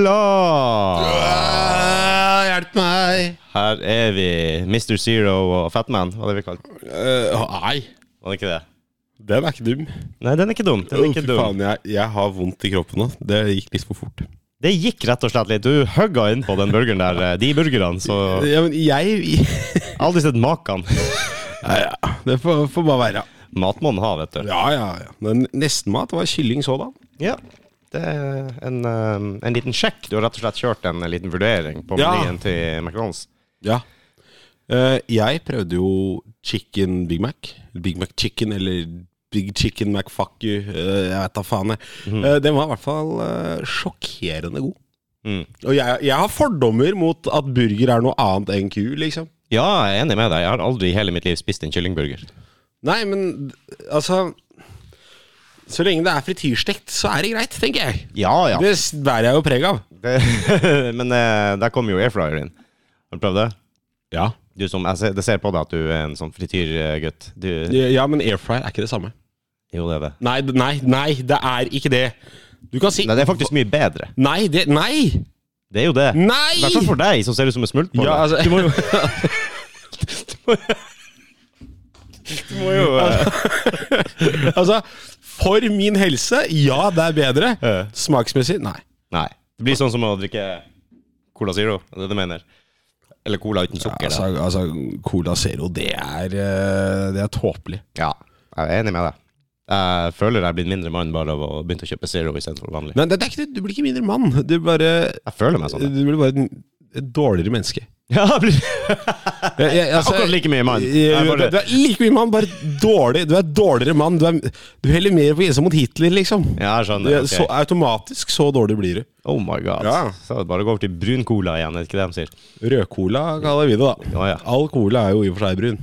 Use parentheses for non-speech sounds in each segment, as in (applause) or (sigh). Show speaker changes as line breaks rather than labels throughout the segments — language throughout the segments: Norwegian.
Hola!
Ah, hjelp meg!
Her er vi. Mr. Zero og Fatman, hva er det vi kaller
Eh, nei,
Var det ikke det?
den er ikke dum.
Nei, den er ikke dum. Den
Å,
er ikke
fy
dum.
faen, jeg, jeg har vondt i kroppen nå. Det gikk litt for fort.
Det gikk rett og slett litt. Du hugga innpå den burgeren der, eh, de burgerne, så
Ja, men jeg
aldri sett maken.
ja, ja. Det får, får bare være.
Mat må den ha, vet du.
Ja, ja, ja. Men nestenmat var kylling sådan.
Ja. Det er en, eh, en liten sjekk. Du har rett og slett kjørt en liten vurdering på
Ja.
menyen til McDonald's.
Ja. Eh, jeg prøvde jo chicken Big Mac. Big Mac chicken eller Big chicken McFuck you. eh, jeg vet da faen, jeg. Eh, den var i hvert fall eh, sjokkerende god.
Mm.
Og jeg, jeg har fordommer mot at burger er noe annet enn ku, liksom.
Ja, jeg er enig med deg. Jeg har aldri i hele mitt liv spist en kyllingburger.
Nei, men altså Så lenge det er frityrstekt, så er det greit, tenker jeg.
Ja, ja.
Det s- bærer jeg jo preg av.
Det, (laughs) men eh, der kommer jo airfryer inn. Har du prøvd det?
Ja.
Du som, jeg ser, det ser på deg at du er en sånn frityrgutt. Du,
ja, men air fryer er ikke det samme.
jo, det er det.
Nei, d- nei, nei, det er ikke det. Du kan si
Nei, det er faktisk mye bedre.
Nei, det Nei!
Det er jo det.
Nei!
I hvert fall for deg, som ser ut som en smultbolle.
Ja, altså-
Du må jo Du må jo eh,
(laughs) Altså, for min helse, ja, det er bedre. Smaksmessig, nei.
Nei. Det blir sånn som å drikke Cola Zero, er det du mener? Eller cola uten sukker.
Altså,
da.
altså Cola Zero, det er, eh, det er tåpelig.
Ja, jeg er enig med deg. Jeg føler jeg er blitt mindre mann bare av å begynne å kjøpe Zero istedenfor vanlig.
Men det, det er ikke, det, du blir ikke mindre mann. Du, bare,
Jeg føler meg
du
sånn. jeg.
blir bare et, et dårligere menneske.
Ja, jeg blir...
Jeg- jeg- altså,
Akkurat like mye mann.
jeg-
Jeg
Du
bare-
du er like mye mann, bare dårlig. Du er dårligere mann. Du, er, du heller mer på grensa mot Hitler, liksom.
Ja, jeg
Du er
skjønner. ok.
så, automatisk så dårlig blir du.
Oh my god.
Ja.
Så er det bare å gå over til brun cola igjen, er det ikke det de sier?
Rødcola kaller vi det, da.
Ja, ja.
All cola er jo i og for seg brun.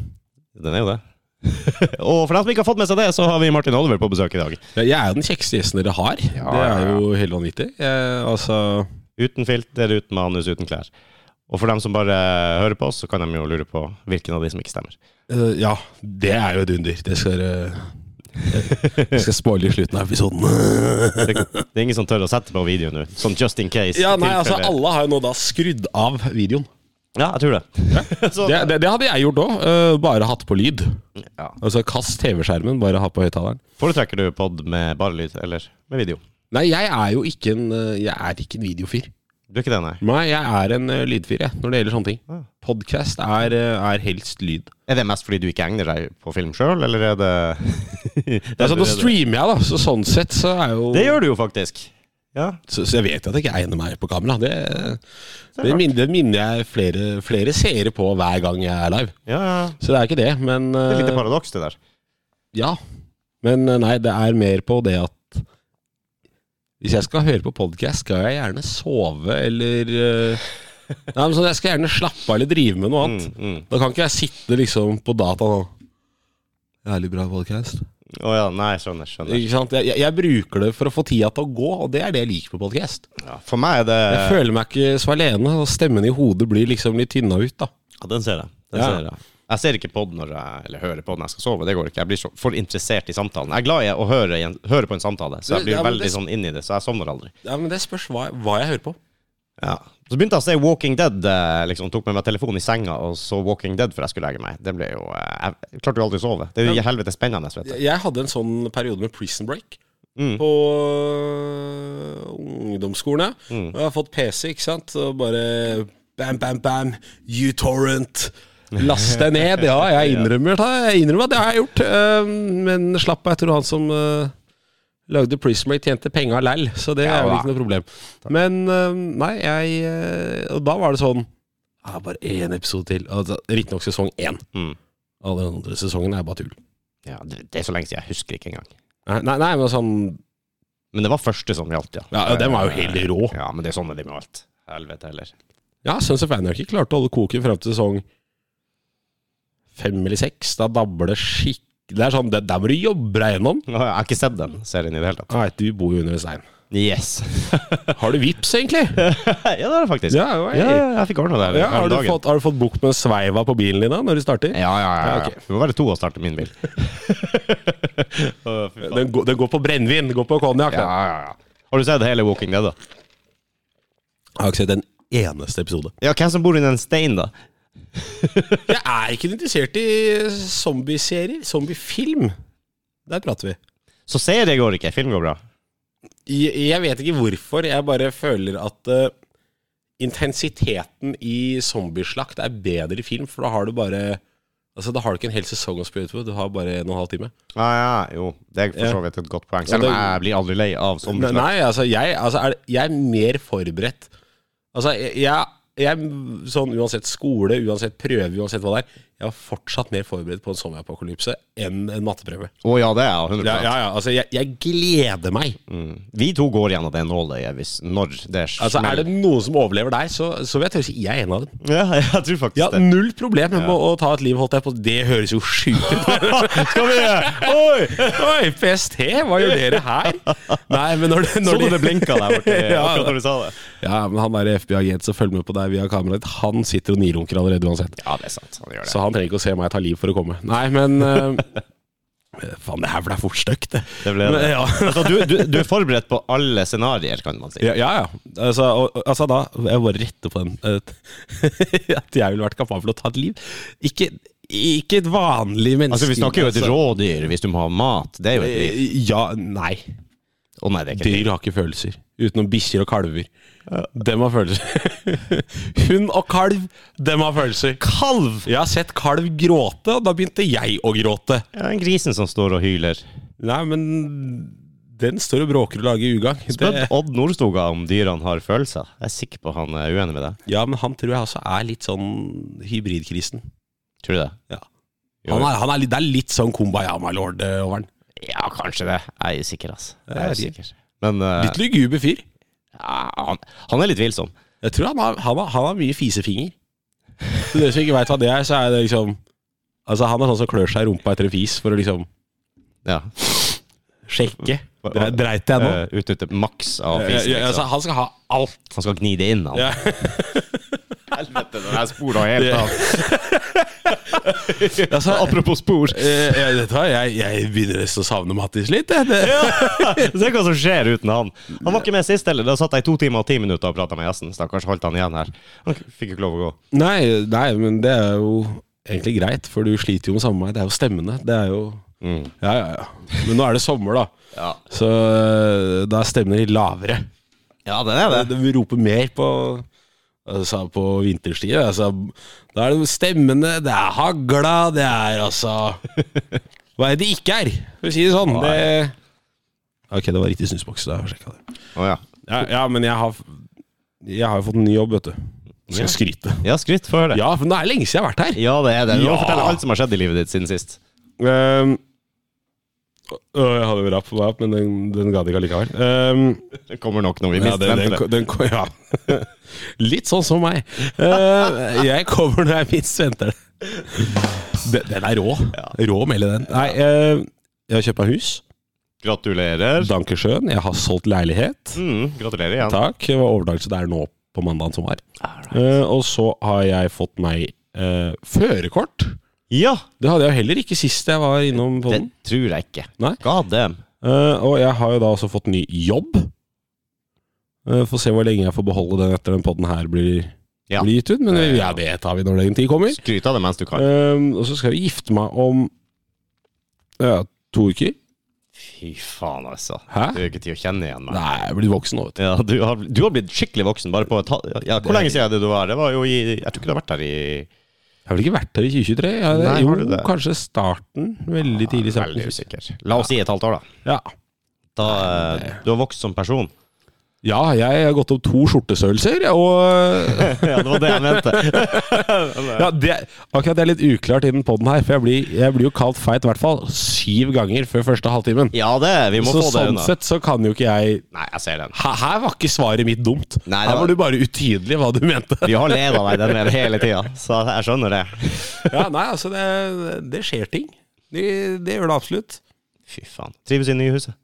Den er jo det. (laughs) og for dem som ikke har fått med seg det, så har vi Martin Oliver på besøk i dag.
Ja, Jeg er jo den kjekkeste gjesten dere har. det
ja,
er
ja.
jo helt vanvittig. Jeg, altså
Uten filter, uten manus, uten klær. Og for dem som bare hører på oss, så kan de jo lure på hvilken av de som ikke stemmer.
eh, Ja, det er jo et under. Det skal dere Jeg skal spoile i slutten av
(laughs)
episoden.
Det, det er ingen som tør å sette på video nå, sånn just in case.
Ja, nei, altså
tilfelle.
Alle har jo nå da skrudd av videoen.
Ja, jeg tror det. (laughs) så,
Det, det, det hadde jeg gjort òg, bare hatt på lyd.
ja.
Altså Kast TV-skjermen, bare ha på høyttaleren.
Foretrekker du pod med bare lyd, eller med video?
Nei, jeg er jo ikke en, eh, jeg er ikke en videofyr.
Du er ikke det, nei?
Nei, jeg er en eh, lydfyr, jeg, når det gjelder sånne ting.
Ah.
Podcast er, eh, er helst lyd.
Er det mest fordi du ikke egner deg på film sjøl, eller er det (laughs)
Altså, nå streamer jeg, da, så sånn sett så er jo
Det gjør du jo faktisk. Ja,
så, så jeg vet jo at jeg ikke egner meg på kamera. Det, det, minner, det minner jeg flere, flere seere på hver gang jeg er live.
ja, ja.
Så det er ikke det, men
Det er et
eh,
lite paradoks, det der.
Ja. Men eh, nei, det er mer på det at hvis jeg skal høre på podkast, skal jeg gjerne sove eller
(laughs)
eh, Nei, men sånn, Jeg skal gjerne slappe av eller drive med noe annet.
Mm, mm.
Da kan ikke jeg sitte liksom på data nå. Jævlig bra podkast.
Å ja, nei, skjønner. skjønner.
Ikke sant? Jeg, jeg, jeg bruker det for å få tida til å gå, og det er det jeg liker med podkast.
Ja, for meg er det
Jeg føler meg ikke så alene, og stemmen i hodet blir liksom litt tynna ut, da.
Ja, den ser jeg. Den
Ja.
ser jeg. Jeg ser ikke pod når jeg, eller hører på når jeg skal sove. Det går ikke. Jeg blir så, for interessert i samtalen. Jeg er glad i å høre, i en, høre på en samtale, så jeg
Ja,
blir
men
veldig
det-
sånn inn i det. Så jeg sovner aldri.
Ja, men det spørs hva, hva jeg hører på.
Ja. Så begynte jeg å se Walking Dead. eh, Liksom, tok med meg telefonen i senga og så Walking Dead før jeg skulle legge meg. Det ble jo eh, Jeg klarte jo aldri å sove. Det er jo i helvete spennende, vet du.
Jeg- Jeg hadde en sånn periode med prison break.
Mm.
På øh, ungdomsskolen. ja. Og
Mm.
Jeg har fått PC, ikke sant. Og bare bam, bam, bam. U-torrent. Last deg ned. (laughs) Ja, jeg innrømmer det. Jeg innrømmer at det har jeg gjort. Øhm, Men slapp av, jeg tror han som øh, lagde prison break, tjente penga læll. Så det
Ja
er vel
da.
ikke noe problem. Men øhm, nei, jeg øh, Og da var det sånn ja, Bare én episode til. Altså, Riktignok sesong én.
Mm.
Alle de andre sesongene er bare tull.
Ja, det, det er så lenge siden. Jeg husker ikke engang.
Nei, nei, nei, men sånn
Men det var første som gjaldt, ja.
Ja, ja, den var jo helt rå.
Ja, men det er sånn er det med alt. Helvete heller.
Ja, Sons of Anarchy klarte å holde koken fram til sesong fem eller seks. Da dabber det skikk... Det er sånn, det, Der må du jobbe deg gjennom.
Nå har Jeg har ikke sett den serien i det hele tatt.
Nei, du bor jo under en stein.
Yes. (laughs)
Har du vips, egentlig?
ja, det har jeg faktisk.
Ja, jo, jeg-
ja, ja, jeg fikk ordna det. her
Ja,
om
har, du
dagen.
fått, har du fått bukt med sveiva på bilen din da, når du starter?
Ja, ja, ja.
Ja,
ja.
ok.
Vi må være to og starte min
(laughs)
bil. Å, fy faen.
Den, går- den går på brennevin, den går på konjakk.
ja,
den.
ja, ja. Har du sett hele Walking Dead, da?
Jeg har ikke sett en eneste episode.
Ja, hvem som bor under en stein, da?
Jeg er ikke interessert i zombieserier. Zombiefilm. Der prater vi.
Så serier går ikke, film går bra.
Jeg jeg vet ikke hvorfor, jeg bare føler at eh, intensiteten i zombieslakt er bedre i film, for da har du bare Altså, da har du ikke en hel sesong å spille ut på, du har bare en og en halv time.
Ja, ja, jo. Det er for så vidt et godt poeng. Selv om
det-
jeg blir aldri lei av sånn.
Nei, nei altså, jeg, altså er, det- jeg er mer forberedt. Altså, jeg, jeg, jeg Sånn uansett skole, uansett prøve, uansett hva det er, jeg er fortsatt mer forberedt på en zombieapokalypse enn en matteprøve.
Å ja, det er jeg 100
Ja, ja, ja, altså, jeg, jeg gleder meg.
Mm. Vi to går gjennom det nåløyet hvis, når det smeller.
Altså, er det noen som overlever deg, så, så vil jeg tørre å si jeg er en av dem.
Ja, (laughs) jeg tror faktisk
Ja,
det.
null problem med å ta et liv, holdt jeg på. Det høres jo sjukt ut. (laughs)
Skal vi Oi!
Oi, PST, hva gjør dere her? Nei, men når Sånn det,
Så
når
du det blinka der (laughs) borte
Ja.
akkurat når du sa det?
Ja, men han der FBI-agent som følger med på deg via kameraet, han sitter og nirunker allerede uansett.
Ja, det er sant. Han gjør det.
Så han trenger ikke å se meg ta liv for å komme. Nei, men eh, Faen, det her ble fort stygt, det.
Det ble
Men,
det.
ja.
Altså, du, du, du er forberedt på alle scenarioer, kan man si.
Ja, ja. ja. Altså, og, og- altså da Jeg bare retter på den. eh, (laughs) At jeg ville vært kapabel til å ta et liv. Ikke, ikke et vanlig menneske.
Altså, Vi snakker jo et
altså.
rådyr hvis du må ha mat. Det er jo et liv.
Eh, Ja, nei.
Å nei, det er ikke et liv.
Dyr har ikke følelser. Utenom bikkjer og kalver. Dem har følelser. (laughs) Hund og kalv, dem har følelser.
Kalv!
Jeg har sett kalv gråte, og da begynte jeg å gråte.
Ja, en grisen som står og hyler.
Nei, men den står og bråker og lager ugagn.
Spør
Det-
Odd Nordstoga om dyrene har følelser. Jeg er sikker på han er uenig med deg.
Ja, men han tror jeg også er litt sånn hybridkristen.
Tror du det?
Ja.
Jo.
Han er, han er, litt- det er litt sånn Kumbayama-lord eh, over han.
Ja, kanskje det. Jeg er usikker, ass. Jeg
Jeg
er
vet ikke.
usikker. Men eh,
Litt luguber fyr.
ja, han, han er litt vilsom.
Jeg tror han har, han har, han har mye fisefinger. For dere som ikke veit hva det er, så er det liksom Altså, han er sånn som klør seg i rumpa etter en fis for å liksom
Ja.
sjekke.
Hva-
Dre-
hva-
Dreit jeg nå?
Eh, Utnytte maks av
Ja,
fisen.
ja, altså,
Liksom.
han skal ha alt.
Han skal gni det inn, han. (laughs)
Ja.
Helvete, den her spora helt
Ja.
av.
(laughs) Altså,
Apropos spor.
eh, jeg, vet du hva, jeg, jeg begynner nesten å savne Mattis litt. jeg. Det,
(laughs) Se hva som skjer uten han. Han var ikke med sist heller. Da satt jeg i to timer og ti minutter og prata med gjesten. Stakkars holdt han igjen her. Han fikk ikke lov å gå.
Nei, nei, men det er jo egentlig greit, for du sliter jo med samme meg. Det er jo stemmene. Det er jo Ja, ja, ja. Men nå er det sommer, da.
Ja,
Så eh, da er stemmene litt lavere.
den er det.
Det vi roper mer på Altså på vinterstid. Altså, da er det stemmene, det er hagla, det er altså Hva er det det ikke er, for å si det sånn? Det, ok, det var riktig snusboks. Da har jeg sjekket det.
Å ja.
Ja, ja, men jeg har Jeg har jo fått en ny jobb, vet du. Skal skryte.
Ja, skryt. Få høre det.
Ja, for nå er det lenge siden jeg har vært her.
Ja, det er det. Du må
Ja.
fortelle alt som har skjedd i livet ditt siden sist.
Um, å, jeg hadde jo rapp på meg opp, men den, den ga det ikke allikevel. Um,
Det kommer nok når vi
ja,
mister
den, den,
venteret.
den, ko- (laughs) ja. Litt sånn som meg. Uh, jeg kommer når jeg minst venter det. Den, den er rå. Rå melde, den. Nei, uh, jeg har kjøpt meg hus.
Gratulerer.
Dankersjøen. Jeg har solgt leilighet.
Mm, gratulerer igjen.
Takk. Det var overtakelse der nå på mandagen som var. Uh, og så har jeg fått meg uh, førerkort.
Ja,
Det hadde jeg jo heller ikke sist jeg var innom
det
podden.
tror jeg ikke.
Nei.
God damn.
Eh, og jeg har jo da også fått ny jobb. Uh, Får se hvor lenge jeg får beholde den etter den podden her blir,
Ja.
blir gitt ut. Men vi- ja, det tar vi når den tid kommer.
Skryt av det mens du kan.
Eh, og så skal jeg gifte meg om ja, to uker.
Fy faen, altså.
Hæ?
Du er ikke til å kjenne igjen meg.
Nei, jeg er blitt voksen nå, vet du.
Ja, du har, du har blitt skikkelig voksen bare på et halvt ja, Hvor lenge siden er det du var? Det var jo i Jeg tror ikke du har vært her i
Jeg har vel ikke vært her i 2023? Jeg,
Nei,
jo,
har du det?
kanskje starten. Veldig tidlig. i
Veldig
starten.
usikker. La oss si et halvt år, da.
Ja.
da eh, du har vokst som person.
ja, jeg har gått opp to skjortestørrelser,
(laughs)
og
(laughs) ja, det var det jeg mente.
Ja, det, akkurat det er litt uklart i den podden her, for jeg blir, jeg blir jo kalt feit i hvert fall syv ganger før første halvtimen.
Ja, det, vi må
Så
få det
sånn
unna.
sett så kan jo ikke jeg
Nei, jeg ser den.
her, her var ikke svaret mitt dumt.
Nei, det
her
var-
var du bare utydelig hva du mente.
Vi har leda deg den med hele tida, så jeg skjønner det.
(laughs) ja, nei, altså, det, det skjer ting. Det, det gjør det absolutt.
Fy faen. Trives i det nye huset.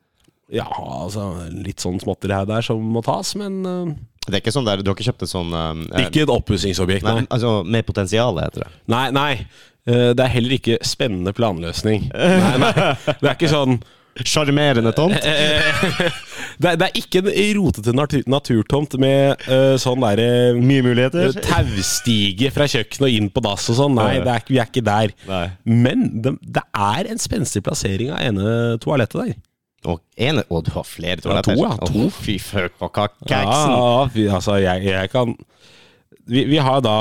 Ja, altså, litt sånn småtteri her og der som må tas, men eh,
Det er ikke sånn der, Du har ikke kjøpt et sånn eh,
ikke et oppussingsobjekt,
Nei,
nei.
altså med potensial, heter det.
Øh, (laughs) Nei, nei. Eh, Det er heller ikke spennende planløsning. Nei, nei. Det er ikke sånn
Sjarmerende tomt.
Eh, Det, er- det er ikke en rotete natur, naturtomt med eh, sånn derre
Mye
eh,
muligheter.
taustige fra kjøkkenet og inn på dass og sånn. Nei, det er, ikke- vi er ikke der.
Nei.
Men det, det er en spenstig plassering av ene toalettet der.
Og ene, å, du har flere
to,
toaletter.
ja, to.
Å, fy føk på kakeksen.
Ja, fy, altså, jeg, jeg kan vi, vi har da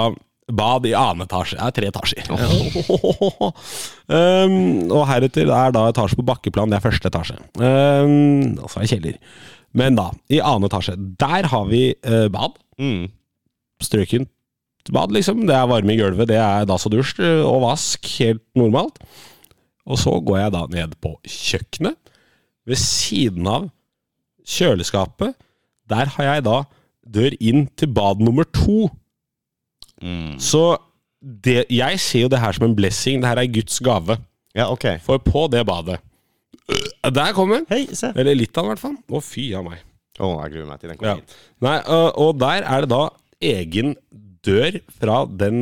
bad i annen etasje. Det er tre etasjer. Oh. (laughs) um, og heretter er da etasje på bakkeplan. Det er første etasje. Um, altså en kjeller. Men da, i annen etasje. Der har vi eh, bad.
Mm.
strøkent bad, liksom. Det er varme i gulvet, det er dass og dusj øh, og vask, helt normalt. Og så går jeg da ned på kjøkkenet. Ved siden av kjøleskapet, der har jeg da dør inn til bad nummer to.
Mm.
Så det, jeg ser jo det her som en blessing. Det her er Guds gave.
Ja, ok.
For på det badet Der kom den!
Hei, se.
Eller litt av den, i hvert fall. Å, fy a meg.
Å, jeg gruer meg til den
Ja.
kommer hit.
Nei, ø, og der er det da egen dør fra, den,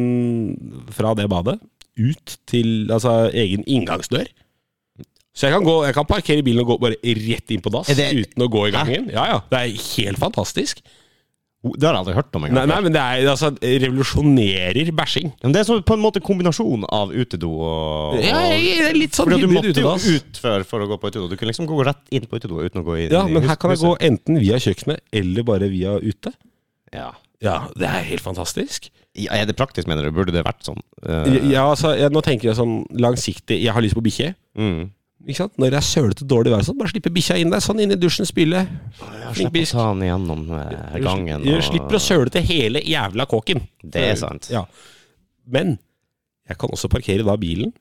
fra det badet ut til Altså egen inngangsdør. Så jeg kan, gå, jeg kan parkere bilen og gå bare rett inn på dass
Er det-
uten å gå i gangen. Ja, ja, Det er helt fantastisk.
Oh, Det har jeg aldri hørt om
Nei,
engang.
nei men det er altså revolusjonerer bæsjing.
Men det er så på en måte kombinasjon av utedo og, og
Ja, jeg- jeg er litt sånn
Fordi at du
hybrid
måtte jo
utedass.
ut før for å gå på utedo. Du kunne liksom gå rett inn på utedo uten å gå i
Ja,
inn i
men her kan jeg gå
huset.
enten via kjøkkenet eller bare via ute.
ja.
Ja, det er helt fantastisk.
ja, Er det praktisk, mener du? Burde det vært sånn? Eh,
Ja, altså, jeg, nå tenker jeg sånn langsiktig. Jeg har lyst på bikkje.
mm.
Ikke sant? Når det er sølete dårlig vær, sånn, bare slippe bikkja inn der. Sånn inn i dusjen, spyle.
Ja,
Flink
Slipp å
bisk.
ta den gjennom eh, gangen.
Du slipper å søle til hele jævla kåken.
Det er sant.
Ja. Men jeg kan også parkere da bilen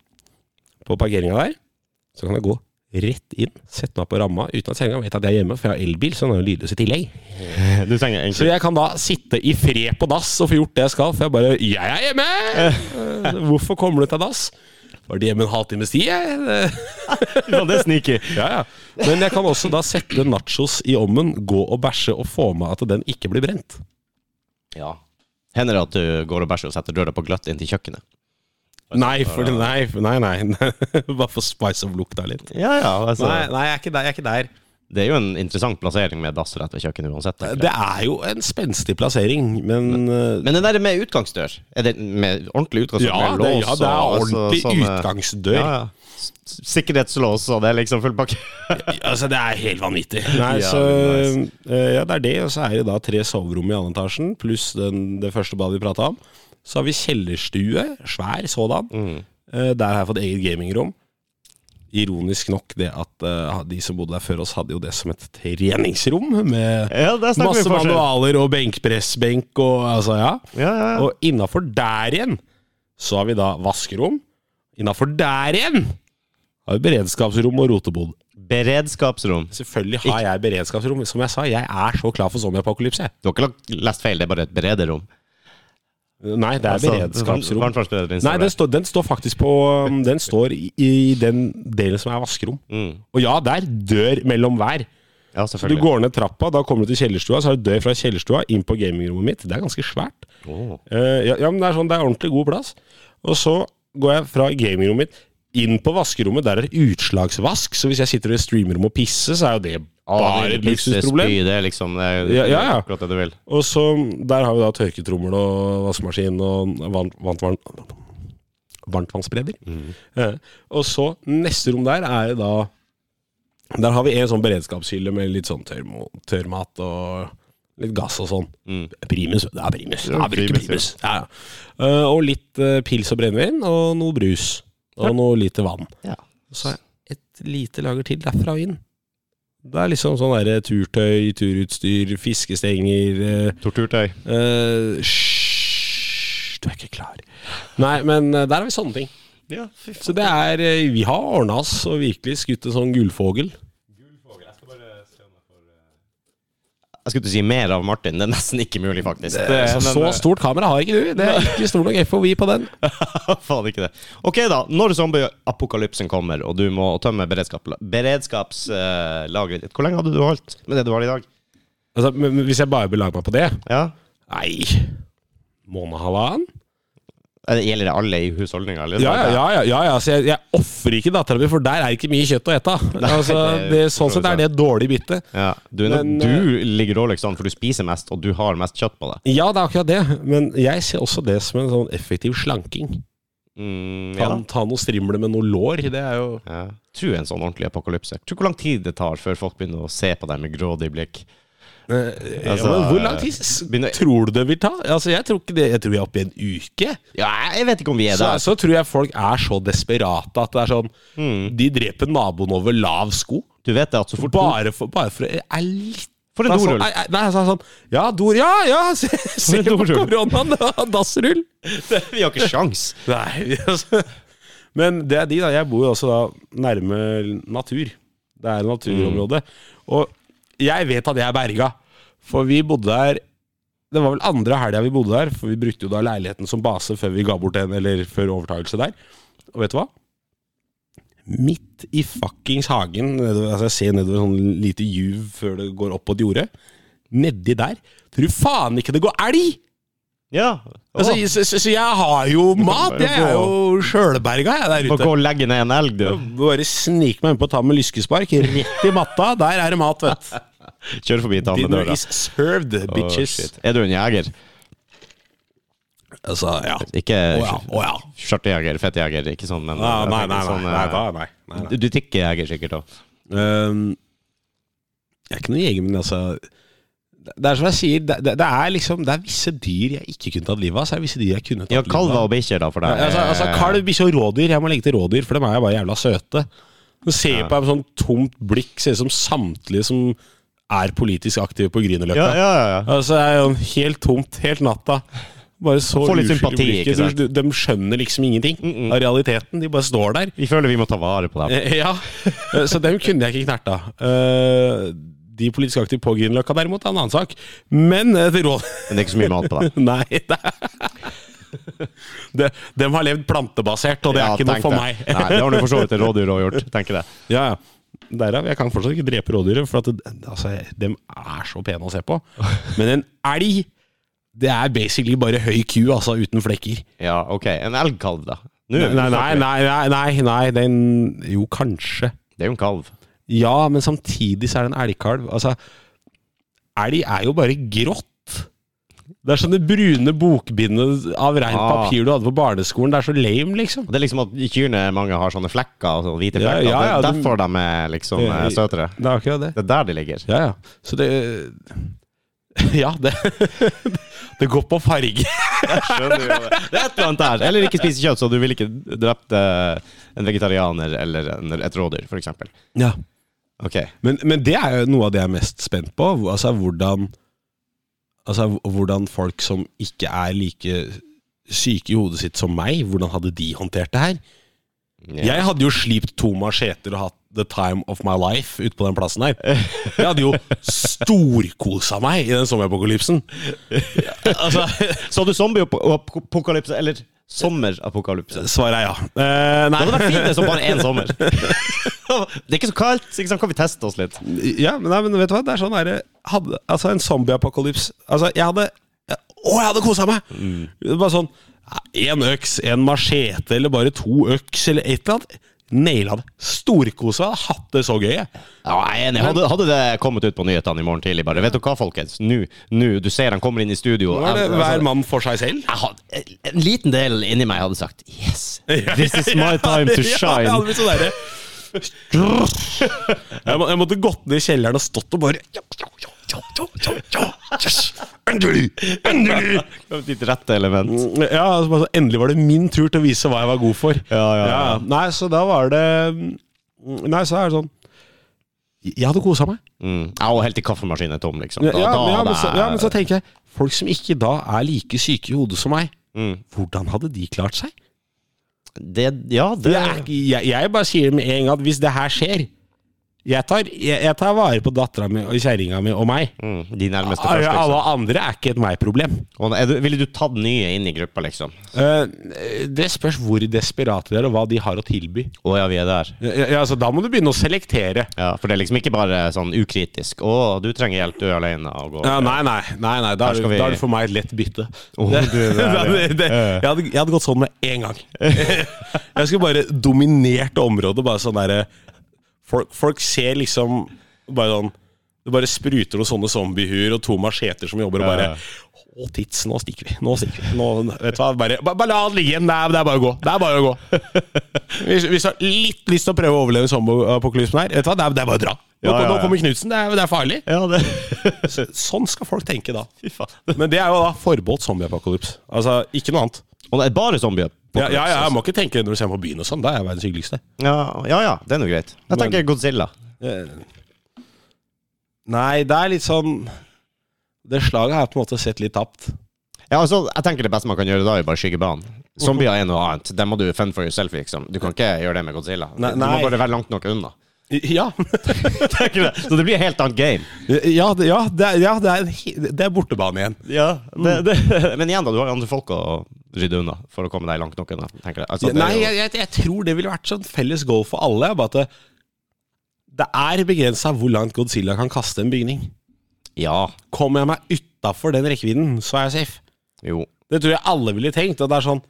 på parkeringa der. Så kan jeg gå rett inn, sette meg på ramma uten at senga vet at jeg er hjemme, for jeg har elbil, så den har jo lydløs i tillegg.
(laughs) Du trenger
Så
egentlig
jeg kan da sitte i fred på dass og få gjort det jeg skal, for jeg bare Jeg er hjemme! Eh, Hvorfor kommer du til dass? Var det hjemme en halvtimes tid, jeg? Eh,
Ja, Det er sneaky.
(laughs) Ja, ja. Men jeg kan også da sette nachos i ommen, gå og bæsje og få med at den ikke blir brent.
Ja. Hender det at du går og bæsjer og setter døra på gløtt inn til kjøkkenet?
Nei, for, nei, for- nei, nei. (laughs) Bare for spice of lukta litt.
Ja, ja. Altså.
Nei, nei jeg, er ikke der, jeg er ikke der. Eh,
Det er jo en interessant plassering med dass rett ved kjøkkenet uansett. tenker jeg.
Det er jo en spenstig plassering, men eh,
Men den der med utgangsdør, er det med ordentlig utgangsdør?
ja,
med
det,
lås
ja, det er
og- altså,
ordentlig
sånn, eh,
utgangsdør.
Ja, ja. S- s- Sikkerhetslås, og det er liksom full pakke. (laughs)
Altså, det er helt vanvittig. Nei,
Ja,
så, eh, ja, det er det, og så er det da tre soverom i andre etasjen, pluss den, det første badet vi prata om. Så har vi kjellerstue, svær sådan.
Mm.
Eh, der har jeg fått eget gamingrom. Ironisk nok det at eh, de som bodde der før oss, hadde jo det som et treningsrom, med
Ja, der snakker
masse
vi forskjell.
manualer og benkpressbenk og altså, ja.
Ja, ja, ja.
Og innafor der igjen så har vi da vaskerom. Innafor der igjen har vi beredskapsrom og rotebod.
Beredskapsrom.
Selvfølgelig har jeg beredskapsrom. Som jeg sa, jeg er så klar for zombieapokalypse. jeg.
Du har ikke lagt- lest feil, det er bare et berederom.
Nei, det er
Altså,
beredskapsrom. Nei, den,
Nei,
står- den står faktisk på um, Den står i, i den delen som er vaskerom.
mm.
Og ja, der dør mellom hver.
Ja,
Du
selvfølgelig.
går ned trappa, da kommer du til kjellerstua, så har du dør fra kjellerstua inn på gamingrommet mitt. Det er ganske svært.
Åh.
Eh, ja, ja, men det er sånn, det er ordentlig god plass. Og så går jeg fra gamingrommet mitt inn på vaskerommet. Der er det utslagsvask, så hvis jeg sitter i et streamerrom og pisser, så er jo det
Ah,
bare
det
et
er
luksusproblem.
pissespy, Det er liksom det er,
Ja, ja, ja.
akkurat det du vil.
Og så der har vi da tørketrommel og vaskemaskin og varmt, varmt, varmt, varmtvannsspreder.
Mm.
Eh, og så neste rom der er jo da Der har vi en sånn beredskapshylle med litt sånn tørmo, tørrmat og litt gass og sånn.
Mm.
Primus. Det er primus.
Ja,
jeg bruker
primus,
primus. Ja, ja. Eh, og litt eh, pils og brennevin og noe brus. Og noe lite vann.
Ja.
Så et lite lager til derfra og inn. Det er liksom sånn derre turtøy, turutstyr, fiskestenger eh,
Torturtøy.
Eh, Hysj, du er ikke klar. Nei, men eh, der har vi sånne ting.
Ja,
Så det er eh, Vi har ordna oss og virkelig skutt en sånn gullfogel.
Jeg skulle til å si mer av Martin. Det er nesten ikke mulig, faktisk.
Eh,
Det- men-
Så stort kamera har ikke du. Det er ikke stor nok FOV på den.
(laughs) Faen ikke det. Ok, da. Når zombieapokalypsen kommer, og du må tømme beredskap, beredskapslageret ditt Hvor lenge hadde du holdt med det du har i dag?
Altså, men men hvis jeg bare belager meg på det
Ja?
Nei. Måned halvannen?
Eh, Gjelder det alle i husholdninga? eller?
Ja, ja, ja, ja, ja, ja. Så jeg, jeg ofrer ikke dattera mi, for der er ikke mye kjøtt å (laughs) ete. Altså,
det
det,
forstår
sånn sett
jeg.
er det et dårlig bytte.
Ja. Du, er nok-
Men, eh,
du ligger dårligst an, for du spiser mest, og du har mest kjøtt på deg.
Ja, det er akkurat det, men jeg ser også det som en sånn effektiv slanking.
Mm,
Ta,
ja.
ta noe strimler med noe lår, det er jo
Ja. Tror en sånn ordentlig apokalypse. Tror hvor lang tid det tar før folk begynner å se på deg med grådig blikk.
Eh,
Altså,
ja, men Hvor lang tid s-
begynner-
tror du det vil ta? Altså, jeg tror ikke det, jeg tror vi er oppe i en uke.
Ja, jeg vet ikke om vi er
Så,
der.
så tror jeg folk er så desperate at det er sånn
Mm.
De dreper naboen over lav sko.
Du vet det at så fort
Bare for, bare for er litt
For en
det er
dorull.
Sånn, nei, nei, det er sånn, ja, dor, ja, ja, (laughs) se, se på
dorull.
koronaen, ja, dassrull. (laughs)
Vi har ikke sjans!
Nei, (laughs) altså. Men det er de, da. Jeg bor jo også da nærme natur. Det er naturområde. Og jeg vet at jeg er berga, for vi bodde der Det var vel andre helga vi bodde der, for vi brukte jo da leiligheten som base før vi ga bort den, eller før overtakelse der. Og vet du hva? Midt i fuckings hagen, nedover, altså jeg ser nedover sånn lite juv før det går opp på et jorde. Nedi der. Tror faen ikke det går elg!
Ja.
Altså,
Åh,
så, så, så jeg har jo mat. Jeg er jo sjølberga, jeg, der
må gå
ute.
og legge ned en elg, du.
Bare snik meg innpå og ta med lyskespark. Rett i matta. Der er det mat, vet du.
Kjør forbi, ta med
Dinner
døra.
is served,
Åh,
bitches.
shit. er du en jeger?
altså, ja.
Ikke
Å ja. Å ja.
skjørtejeger, fettjeger, ikke sånn, men
Ja,
jeg
nei,
tenker
nei, nei.
sånn,
nei,
eh,
da, nei, nei, nei.
Du, du tikker jeger sikkert òg.
Ehm, jeg er ikke noen jeger, men altså det- det er som jeg sier, det, det, det er liksom Det er visse dyr jeg ikke kunne tatt livet av. Så er det visse dyr jeg kunne tatt
Ja,
livet
kalver
av.
og bikkjer, da, for deg. Eh,
Ja, Altså, altså Kalv, bikkje og rådyr. Jeg må legge til rådyr, for dem er jo bare jævla søte. Du ser på meg med sånn tomt blikk, ser ut som samtlige som er politisk aktive på Grünerløkka.
Ja, ja, ja, ja.
Altså, det er jo helt tomt, helt natta. Bare så
Få litt
uskyldig
sympati,
blikket,
ikke sant?
så De skjønner liksom ingenting av realiteten. De bare står der.
Vi føler vi må ta vare på dem.
Eh, Ja, Eh, Så dem kunne jeg ikke knerta. Eh, De politisk aktive på Grünerløkka derimot, er en annen sak. Men eh, til råd... (laughs)
Men det er ikke så mye mat på dem.
Nei, det de, de har levd plantebasert, og det
Ja,
er ikke noe
tenk
for
det.
meg. (laughs)
Nei, det har du for så vidt et rådyr òg gjort, tenker jeg.
Ja, ja. Derav, jeg kan fortsatt ikke drepe rådyret, for at det, altså, de er så pene å se
(laughs)
på. Men en elg, det er basically bare høy ku, altså, uten flekker.
Ja, ok. En elgkalv, da. Nå,
Nei, nei, nei, nei, nei, nei den, jo, kanskje.
Det er jo en kalv.
Ja, men samtidig så er det en elgkalv. Altså, elg er jo bare grått. Det er sånn det brune bokbindet av rent
Ah.
papir du hadde på barneskolen. Det er så lame, liksom.
Det er liksom at kyrne mange har sånne flekker, og sånne hvite
Ja,
flekker.
ja, ja,
det er
de-
derfor de er liksom eh, søtere.
Det er akkurat det.
Det er der de ligger.
Ja, ja. Så det (laughs) Ja, det (laughs) Det går på farge.
(laughs) Skjønner jo det. Det er et eller annet der. Eller ikke spise kjøtt, så du ville ikke drept eh, en vegetarianer eller en, et rådyr, for eksempel.
Ja.
Ok.
Men, men det er jo noe av det jeg er mest spent på. hvor- Altså hvordan Altså hvordan folk som ikke er like syke i hodet sitt som meg, hvordan hadde de håndtert det her?
Ja.
Jeg hadde jo slipt to macheter og hatt the time of my life ute på den plassen her. Jeg hadde jo storkosa meg i den
(laughs)
sommerpokalypsen. Altså,
Så du zombieapokalypse, eller sommerapokalypse?
svaret er ja. Eh,
Det
nei.
hadde vært fint det som bare én sommer. Det er ikke så kaldt, så ikke sant, kan vi teste oss litt?
Ja, men, nei, men vet du hva? Det er sånn her hadde, Altså, en zombieapokalypse Altså, jeg hadde Å, jeg hadde kosa meg! Bare sånn Én øks, en machete, eller bare to øks, eller et eller annet. Naila det. Storkosa. Hatt det så gøy. jeg.
Ja, jeg er enig. Hadde, hadde det kommet ut på nyhetene i morgen tidlig, bare Vet du hva, folkens? Nå, nå, du ser han kommer inn i studio. Altså,
Nå er det
Jeg-
hver mann for seg (laughs) selv.
jeg hadde, en liten del inni meg hadde sagt Yes, this is my time to
(laughs) Ja, jeg hadde
shine.
blitt sånn derre (laughs) jeg, må, jeg måtte gått ned i kjelleren og stått og bare ja, ja, ja, ja, ja, ja, yes. Endelig! Endelig!
Ditt rette element.
Ja, altså, bare så endelig var det min tur til å vise hva jeg var god for.
Ja, ja, ja.
Nei, så da var det Nei, så er det sånn Jeg hadde kosa meg.
Mm. Ja, og helt til kaffemaskinen er tom, liksom.
Ja,
Da, da
men, ja, men, så,
hadde
ja, men så
jeg-
tenker jeg Folk som ikke da er like syke i hodet som meg,
Mm.
hvordan hadde de klart seg?
det, ja, det
Det er, ikke- jeg, jeg bare sier med en gang at hvis det her skjer Jeg tar, jeg, jeg tar vare på dattera mi og kjerringa mi og meg.
Mm, de nærmeste først,
Alle
liksom.
alle andre er ikke et meg-problem.
Og er du, ville du tatt nye inn i gruppa, liksom?
Eh, det spørs hvor desperate de er, og hva de har å tilby.
Å ja, vi er der.
Ja, ja, altså, da må du begynne å selektere.
Ja, For det er liksom ikke bare sånn ukritisk 'Å, du trenger hjelp, du er alene', og går
Ja, nei, nei, nei, nei da, er
skal
det,
vi-
da er det for meg et lett bytte.
Åh,
det,
du, det er det,
(laughs)
ja.
det- det- jeg, hadde, jeg hadde gått sånn med en gang. (laughs) Jeg skulle bare dominert området. Bare sånn derre folk, folk ser liksom bare sånn Det bare spruter noen sånne zombiehuer og to macheter som jobber og bare
Ja.
Å, tits, nå stikker vi. Nå stikker vi. Nå, vet du hva, bare, bare, bare la det ligge. Nei, det er bare å gå. Det er bare å gå.
(laughs)
Hvis, hvis du har litt lyst til å prøve å overleve zombieapokalypsen her, vet du hva, det er, det er bare å dra. Nå,
Ja, ja,
nå
ja.
kommer Knutsen. Det, er- det er farlig.
Ja, det
Sånn skal folk tenke da.
Fy faen.
Men det er jo da forbeholdt zombieapokalypse. Altså, ikke noe annet.
Og det er bare zombier?
Ja, ja, ja, jeg må ikke tenke det når du ser på byen og sånn. Da er jeg verdens hyggeligste.
ja, altså. ja, ja, det er nå greit. Jeg tenker Godzilla.
Eh, Nei, det er litt sånn Det slaget har jeg på en måte sett litt tapt.
Ja, altså, jeg tenker det beste man kan gjøre da, er bare skygge banen. Zombier er noe annet. Det må du fend for yourself, liksom. Du kan ikke gjøre det med Godzilla.
Nei,
Du må
nei.
bare være langt nok
(laughs)
unna.
Ja.
Tenker du? Så det blir et helt annet game.
ja, det, ja, det, er, ja det, er, en he- det er bortebane igjen.
Mm. (laughs) Men igjen, da. Du har jo andre folk å rydde unna for å komme deg langt nok unna. Tenker jeg. Altså, det er
Nei,
jo-
jeg, jeg, jeg tror det ville vært sånn felles goal for alle. Bare at det, det er begrensa hvor langt Godzilla kan kaste en bygning.
Ja.
Kommer jeg meg utafor den rekkevidden, så er jeg safe.
Jo.
Det tror jeg alle ville tenkt. Og det er sånn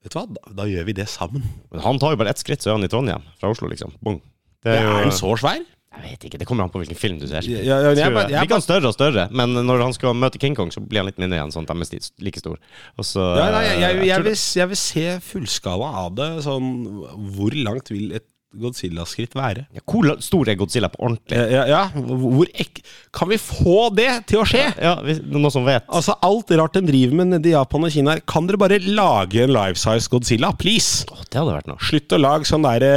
Vet du hva, da, da gjør vi det sammen.
Men han tar jo bare ett skritt, så er han i Trondheim. Fra Oslo, liksom. Bong. Det
Er
er jo
han så svær?
Jeg vet ikke. Det kommer an på hvilken film du ser.
Ja, ja, jeg
Tror
bare-
jeg.
jeg
Blir ikke han større og større, men når han skal møte King Kong, så blir han litt mindre igjen, sånn at de er sti- like stor. Og så
Nei, nei, jeg, jeg,
eh, tror
jeg,
det-
vil, jeg vil se fullskala av det. Sånn, hvor langt vil et Godzilla-skritt være?
Ja, Hvor la- stor er Godzilla på ordentlig?
Ja, ja, ja, hvor ek Kan vi få det til å skje?
Ja, hvis, Noen som vet?
Altså, Alt rart de driver med nede i Japan og Kina her, kan dere bare lage en life size Godzilla? Please!
Å, det hadde vært noe.
Slutt å lage sånn derre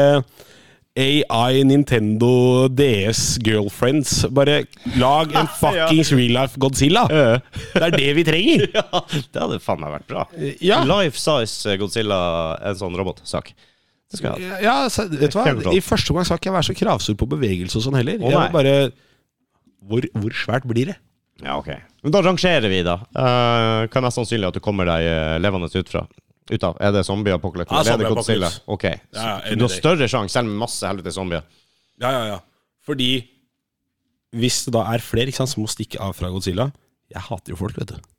AI, Nintendo, DS, girlfriends. Bare lag (laughs) en fuckings real life Godzilla! Det er det vi trenger!
(laughs) Ja, det hadde faen meg vært bra.
Ja.
Life size eh, Godzilla, en sånn robotsak. Det skal jeg ha.
Ja, så, vet du
Kjempeklart.
hva? I første omgang skal ikke jeg være så kravstor på bevegelse og sånn heller.
Å,
jeg
nei.
vil bare hvor, hvor svært blir det?
Ja, ok. Men da rangerer vi, da. Uh, hva er mest sannsynlig at du kommer deg eh, levende ut fra? Ut av? Er det zombieapokalypse?
Ja,
Eller er det
zombieapokalypse.
Godzilla? Ok.
Ja,
Så
ja, enig
du har
i det.
større sjanse, selv med masse helvetes zombier.
Ja, ja, ja. Fordi hvis det da er flere ikke sant, som må stikke av fra Godzilla Jeg hater jo folk, vet du.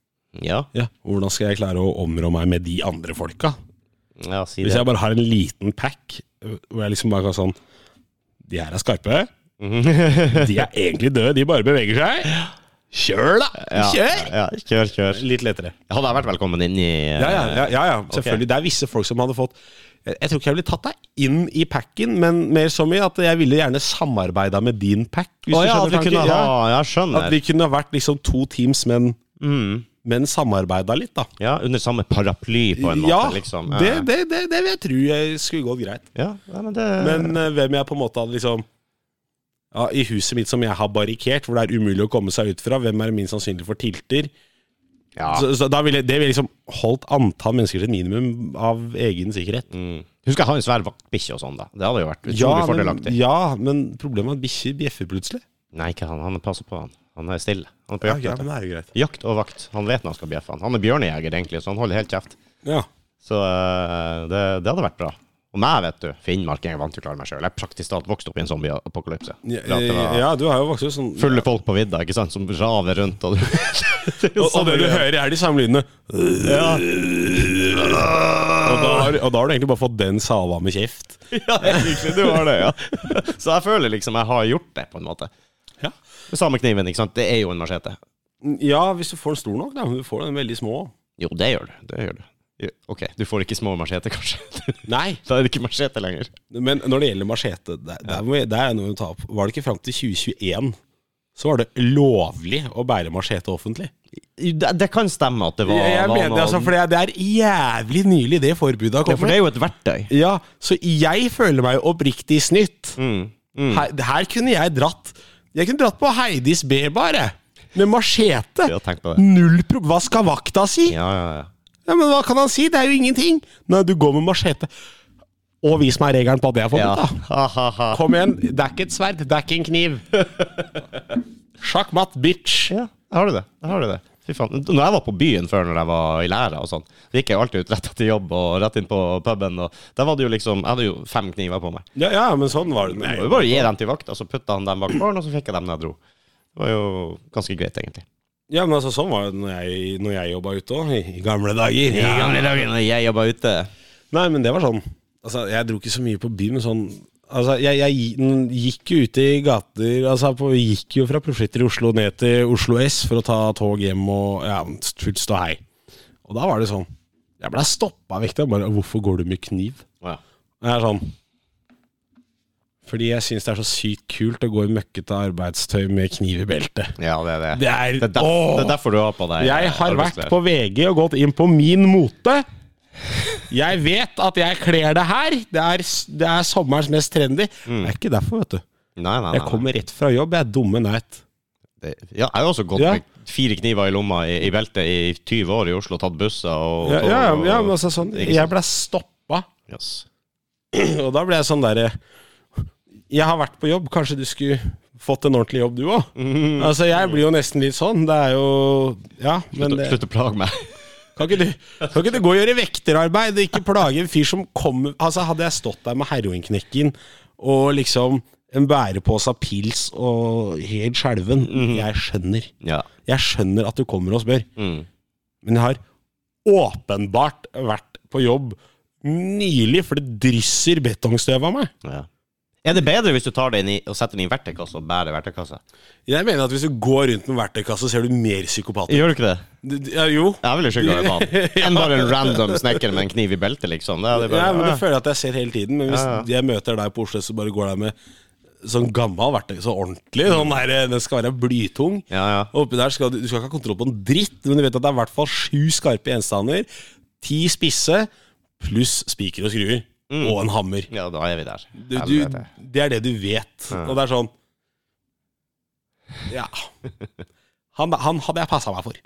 Ja,
Ja, Hvordan skal jeg klare å områ meg med de andre folka?
ja si
Hvis
det.
jeg bare har en liten pack øh, hvor jeg liksom bare kan sånn De her er skarpe. De er egentlig døde, de bare beveger seg. Kjør, da!
Ja,
Kjør!
Ja, kjør, kjør.
Litt lettere.
Hadde jeg vært velkommen inn i eh,
Ja, ja, ja, ja, ja. selvfølgelig. Det er visse folk som hadde fått Jeg jeg tror ikke jeg ville tatt deg inn i packen, men mer som i at jeg ville gjerne samarbeida med din pack. Hvis
Å
du
ja, at
skjønner
vi
tanken.
kunne ha
Ja.
Ja, jeg
At
skjønner.
vi kunne vært liksom to teams, men,
Mm.
men samarbeida litt, da.
Ja, under samme paraply, på en måte.
ja,
liksom.
det,
Eh,
det, det, det vil jeg tro jeg skulle gått greit.
Ja, nei, men det
Men eh, hvem jeg på en måte hadde liksom ja, I huset mitt som jeg har barrikert, hvor det er umulig å komme seg ut fra, hvem er det minst sannsynlig for tilter?
ja.
Så, så da ville det ville liksom holdt antall mennesker til et minimum av egen sikkerhet.
mm. Husk jeg har en svær vaktbikkje og sånn, da. Det hadde jo vært utrolig
Ja men,
fordelaktig.
ja, men problemet er at bikkjer bjeffer plutselig.
Nei, ikke han. Han passer på, han. Han er stille. Han er på
Ja,
jakt.
ja,
vet du.
men det er jo greit.
Jakt og vakt. Han vet når han skal bjeffe. Han Han er bjørnejeger, egentlig, så han holder helt kjeft.
Ja.
Så eh, det, det hadde vært bra. Og meg, vet du. Finnmark jeg er vant til å klare meg sjøl. Jeg er praktisk talt vokst opp i en zombieapokalypse.
Ja,
For at det var
du har jo vokst opp sånn
Fulle folk på vidda, ikke sant, som raver rundt. Og (laughs) det er jo
og, og det du
samme-
hører, er de samme lydene.
Ja.
Og da, har, og da har du egentlig bare fått den salva med kjeft.
Ja, egentlig, du har det, ja. (laughs) Så jeg føler liksom jeg har gjort det, på en måte.
Ja.
Med samme kniven, ikke sant. Det er jo en machete.
ja, hvis du får den stor nok, da. Men du får den veldig små.
Jo, det gjør du. Det gjør du. Jo, Ok, du får ikke små macheter, (laughs) kanskje.
Nei,
da er det ikke machete lenger.
men når det gjelder machete, der, der, må jeg- der er noe å ta opp. Var det ikke fram til 2021 så var det lovlig å bære machete offentlig?
Det, det kan stemme at det var,
Jeg, jeg
var
mener, altså, for det er- det er jævlig nylig det forbudet har
ja, for
kommet.
det er jo et verktøy.
(laughs) Ja, så jeg føler meg oppriktig snytt.
Mm.
Her, her kunne jeg dratt Jeg kunne dratt på Heidis B-bar, jeg. Med machete.
Ja, tenk på det.
Null prob... Hva skal vakta si? Ja.
Ja, ja, ja.
Men hva kan han si? Det er jo ingenting. Nei, du går med machete. Og vis meg regelen på at det er
Ja.
forbudt, da.
Ha-ha-ha.
Kom igjen, det er ikke et sverd, det er ikke en kniv. Sjakk matt, bitch.
Ja, der har du det. Der har du det. Fy faen. Når jeg var på byen før, når jeg var i læra og sånn, så gikk jeg jo alltid ut rett etter jobb og rett inn på puben, og der var det jo liksom Jeg hadde jo fem kniver på meg.
Ja, ja, men sånn var det.
Det var jo bare å gi dem til vakta, så putta han dem bak barn, og så fikk jeg dem når jeg dro. Det var jo ganske greit, egentlig.
Ja, men altså, sånn var det når jeg, når jeg jobba ute òg, i gamle dager. I gamle-
dager når jeg jobba ute.
Nei, men det var sånn. Altså, jeg dro ikke så mye på by, men sånn Altså, jeg, jeg gi- den gikk jo ute i gater Altså, på, gikk jo fra Profetter i Oslo ned til Oslo S for å ta tog hjem og ja, fullt ståhei. Og da var det sånn Jeg blei stoppa vekk der. Bare 'Hvorfor går du med kniv?'
Ja.
Og jeg er sånn Fordi jeg syns det er så sykt kult å gå i møkkete arbeidstøy med kniv i beltet.
ja, det er det.
Det er,
Det er, derf
Åh!
det er derfor du har på deg
Jeg har vært
arbeidsklær.
på VG og gått inn på min mote. Jeg vet at jeg kler det her. Det er, det er sommerens mest trendy. Det er ikke derfor, vet du.
Nei, Mm. nei, nei.
Jeg kommer rett fra jobb, jeg er dumme night.
Det- Ja, jeg har også gått
Ja.
med fire kniver i lomma i, i beltet i 20 år i Oslo, tatt busser og,
Ja,
og
ja, ja, men altså sånn, jeg ble stoppa,
Yes.
og da ble jeg sånn derre Jeg har vært på jobb, kanskje du skulle fått en ordentlig jobb, du òg? Altså, jeg blir jo nesten litt sånn. Det er jo Ja, men
Mm.
eh,
Slutt,
det,
slutt å plage meg. (laughs)
Kan ikke, du, kan ikke du gå og gjøre vekterarbeid og ikke plage en fyr som kommer Altså, hadde jeg stått der med heroinknekken og liksom en bærepose av pils og helt skjelven Jeg skjønner.
Ja. Mm,
Jeg skjønner at du kommer og spør. Men jeg har åpenbart vært på jobb nylig, for det drysser betongstøv av meg.
ja. Er det bedre hvis du tar det inn i, og setter det i en verktøykasse og bærer verktøykassa?
Jeg mener at hvis du går rundt med verktøykasse, ser du mer psykopat ut.
Gjør du ikke det?
D- d- Ja, jo.
Jeg ville skygga
(laughs)
deg banen. Enn bare en random snekker med en kniv i beltet, liksom. Det er det
Ja, men
bare,
det føler jeg at jeg ser hele tiden. Men hvis jeg møter deg på Oslo, så bare går jeg med sånn gammel verktøy, så ordentlig. Sånn der, den skal være blytung.
ja, ja.
Og oppi der skal du, du skal ikke ha kontroll på en dritt, men du vet at det er i hvert fall sju skarpe gjenstander, ti spisse, pluss spiker og skruer. Og en hammer.
ja, da er vi der.
Du, du,
Helvete.
det er det du vet. Og det er sånn Ja. Han, han hadde jeg passa meg for.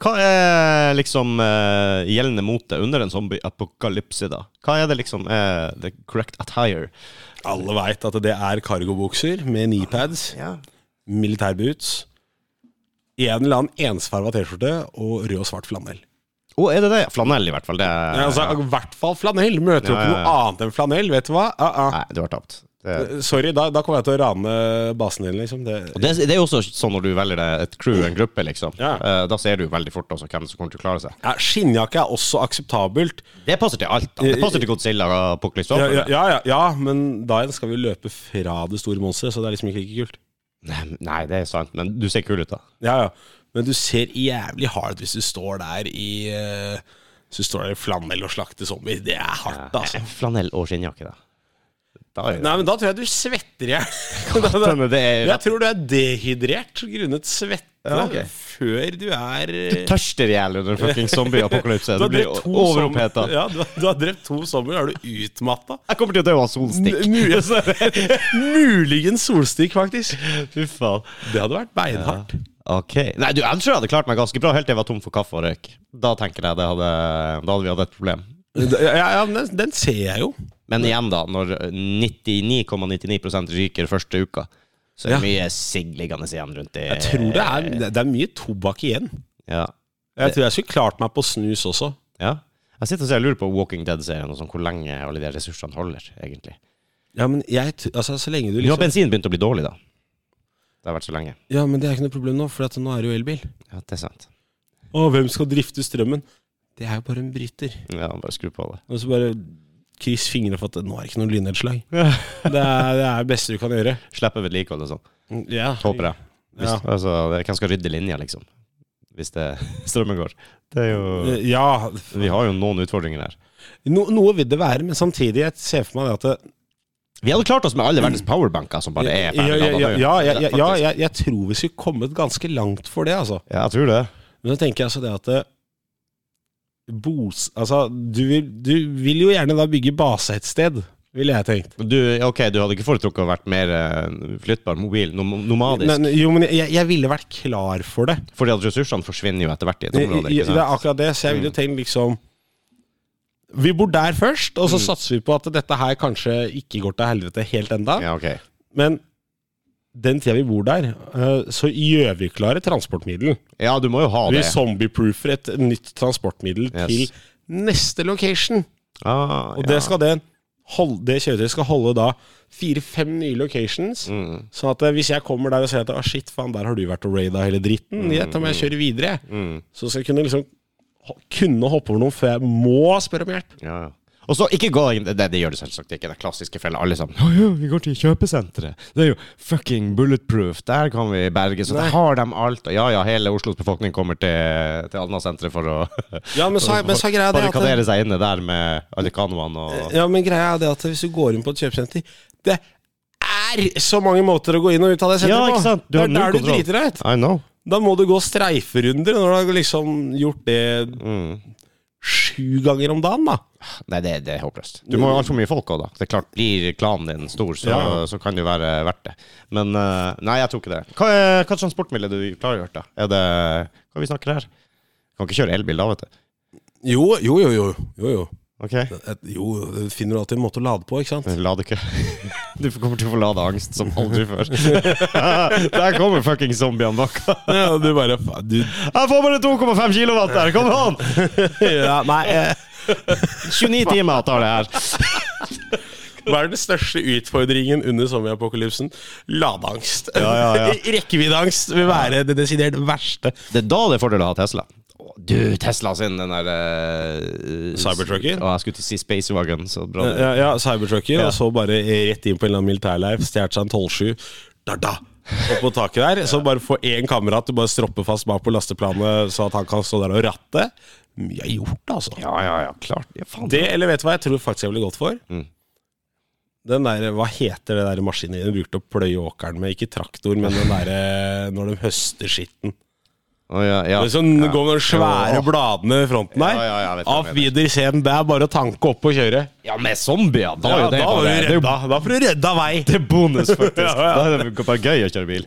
Hva er liksom eh, gjeldende mote under en zombie-apokalypse, da? Hva er det liksom eh, the correct attire?
Alle veit at det er cargobukser med kneepads.
Ja.
militærboots, en eller annen ensfarva T-skjorte og rød og svart flanell.
Å, er det det? Flanell, i hvert fall. Det er,
Ja, altså, I hvert fall flanell. Møter du
Ja,
på
ja,
noe annet enn flanell, vet du hva? Ah, ah.
Nei, du har tapt. Det,
Sorry, da, da kommer jeg til å rane basen din, liksom. Det,
og det, det er jo også sånn når du velger deg et crew, en gruppe, liksom.
Ja.
Eh, da ser du veldig fort også hvem som kommer til å klare seg.
ja, skinnjakke er også akseptabelt.
Det passer til alt. da. Det passer til Godzilla og Apocalypse.
Ja,
Warfare.
ja, ja, ja, ja men da igjen skal vi løpe fra det store monsteret, så det er liksom ikke like kult.
Nei, Nei, det er sant, men du ser kul ut, da.
Ja, ja. Men du ser jævlig hard ut hvis du står der i eh, Hvis du står der i flanell og slakter zombier. Det er hardt, altså.
Flanell og skinnjakke, da. Da er det
Nei, men da tror jeg du svetter i hjel. Da-
(laughs)
da-
Denne, det er
Jeg tror du er dehydrert grunnet svette
Ja, ok.
før du er
tørster i hjel under en fucking zombie-apokalypse.
Du
Du
har
blir
drept to
overoppheta.
sommer- Ja, du, har- du har drept to sommer, er du utmatta?
Jeg kommer til å dø av solstikk.
altså, (laughs) Muligens solstikk, faktisk.
Fy faen.
Det hadde vært beinhardt.
Ok. Nei, du, jeg tror jeg hadde klart meg ganske bra helt til jeg var tom for kaffe og røyk. Da tenker jeg det hadde Da hadde vi hatt et problem.
Ja, ja, ja, men den, den ser jeg jo.
Men igjen, da, når 99,99 ryker første uka, så er det mye sigg liggende igjen rundt i
Jeg tror det er, det er mye tobakk igjen.
Ja.
Jeg tror jeg skulle klart meg på snus også.
ja. Jeg sitter og ser- jeg lurer på Walking Dead-serien og sånn, hvor lenge alle de ressursene holder, egentlig.
Ja, men jeg, t- altså, så lenge du
Nå har
liksom
bensin begynt å bli dårlig, da. Det har vært så lenge.
Ja, men det er ikke noe problem nå, for at nå er det jo elbil.
Ja, det er sant.
Å, hvem skal drifte strømmen? Det er jo bare en bryter.
Ja, bare skru på det.
Og så bare kryss fingrene for at nå er det ikke noe lynnedslag. (laughs) Det er det er det beste du kan gjøre.
Slippe vedlikehold og sånn.
Ja.
Håper jeg. Hvis,
Ja.
altså, det- hvem skal rydde linja, liksom? Hvis det (laughs) strømmen går. Det er jo
Eh, ja.
Vi har jo noen utfordringer her.
No, noe vil det være, men samtidig jeg ser for meg det at det,
Vi hadde klart oss med alle verdens powerbanker som bare
ja,
er
ja, ja,
ferdig
ja,
ladet nå.
ja, ja,
faktisk.
jeg, jeg tror vi skulle kommet ganske langt for det, altså.
Ja, jeg tror det.
Men så tenker jeg altså det at det, bos, altså, du, vil, du vil jo gjerne da bygge base et sted, ville jeg tenkt.
Men Du, ok, du hadde ikke foretrukket å vært mer eh, flyttbar, mobil, nom nomadisk?
Men, jo, men jeg, jeg ville vært klar for det.
Fordi at ressursene forsvinner jo etter hvert i et
I-
område.
i-
ikke Mm.
Det er
sant?
akkurat det, så jeg ville jo tenkt liksom Vi bor der først,
Mm.
og så satser vi på at dette her kanskje ikke går til helvete helt enda.
Ja, ok.
Men den tida vi bor der, eh, så gjør vi klare transportmiddel.
Ja, du må jo ha
Vi
det.
zombieproofer et nytt transportmiddel
Yes.
til neste location.
Ah,
Og
ja.
det skal den hold- det kjøretøyet skal holde da fire-fem nye locations. Sånn at eh, hvis jeg kommer der og ser at Å shit, faen, der har du vært og raida hele dritten. Gjett om jeg kjører videre. Så skal jeg kunne liksom ho- kunne hoppe over noen før jeg må spørre om hjelp.
Ja, ja. Og så ikke gå inn Det, det gjør du selvsagt ikke. Den klassiske fella. Alle sammen Å ja, vi går til kjøpesenteret. Det er jo fucking bulletproof. Der kan vi berges. Og der har de alt. Og ja ja, hele Oslos befolkning kommer til, til Alna-senteret for å (laughs)
Ja, men så, men så er greia det Eh, at
barrikadere seg inne der med alle kanoene og
Ja, men greia er det at hvis du går inn på et kjøpesenter Det er så mange måter å gå inn og ut av det
Ja,
senteret
ikke sant? Du
det
har
er
null
der du
kontroll.
driter deg ut.
I know.
Da må du gå streiferunder når du har liksom gjort det
Mm.
sju ganger om dagen, da.
Nei, det, det er håpløst. Du må jo ha altfor mye folk òg, da. Det er klart, Blir klanen din stor, så,
Ja.
så kan det jo være verdt det. Men eh, nei, jeg tror ikke det. Hva, er- hva transportmiddel er det du klargjort, da? Er det Hva vi snakker her? Kan ikke kjøre elbil da, vet du.
Jo, jo, jo. jo, jo, jo.
Ok
Et- Jo, det finner du alltid en måte å lade på, ikke sant?
Ladekø. (laughs) Du kommer til å få ladeangst som aldri
(laughs)
før. Der kommer fucking zombiene bak.
(laughs) Ja, du bare fa- du,
Jeg får bare 2,5 kilowatt der, kom an!
(laughs) ja, Nei,
(laughs)
eh,
29 timer tar det her.
hva er den største utfordringen under zombieapokalypsen? Ladeangst.
Ja, ja, ja.
(laughs) Rekkeviddeangst vil være det desidert verste.
Det er da det er fordel å ha Tesla. Å, Du, Tesla sin, den der eh,
Cybertrucker?
Å, jeg skulle til å si Spacewagon, så bra. det.
Ja, ja Cybertrucker, og så bare rett inn på en eller annen militærleir, stjålet seg en 12-7. Da, da. Opp på taket der. Så bare få én kamerat du bare stropper fast bak på lasteplanet, så at han kan stå der og ratte. Mye er gjort, altså.
Ja, ja, ja, klart. Ja, faen.
Det, eller vet du hva jeg tror faktisk jeg ville gått for?
Mm.
Den der, Hva heter det der maskinen de brukte å pløye åkeren med? Ikke traktor, men den derre når de høster skitten.
Å, ja, ja.
Det er sånn,
ja.
går med de svære
Ja.
bladene i fronten der.
Ja, ja, ja, jeg vet hva
Av
du mener.
Wiederseen, det er bare å tanke opp og kjøre.
ja, med zombier! Da
Ja,
er jo det
da, var
bare det
du
er jo
redda, da får du redda vei!
det er bonus, faktisk.
Ja, ja.
Da er det bare gøy å kjøre bil.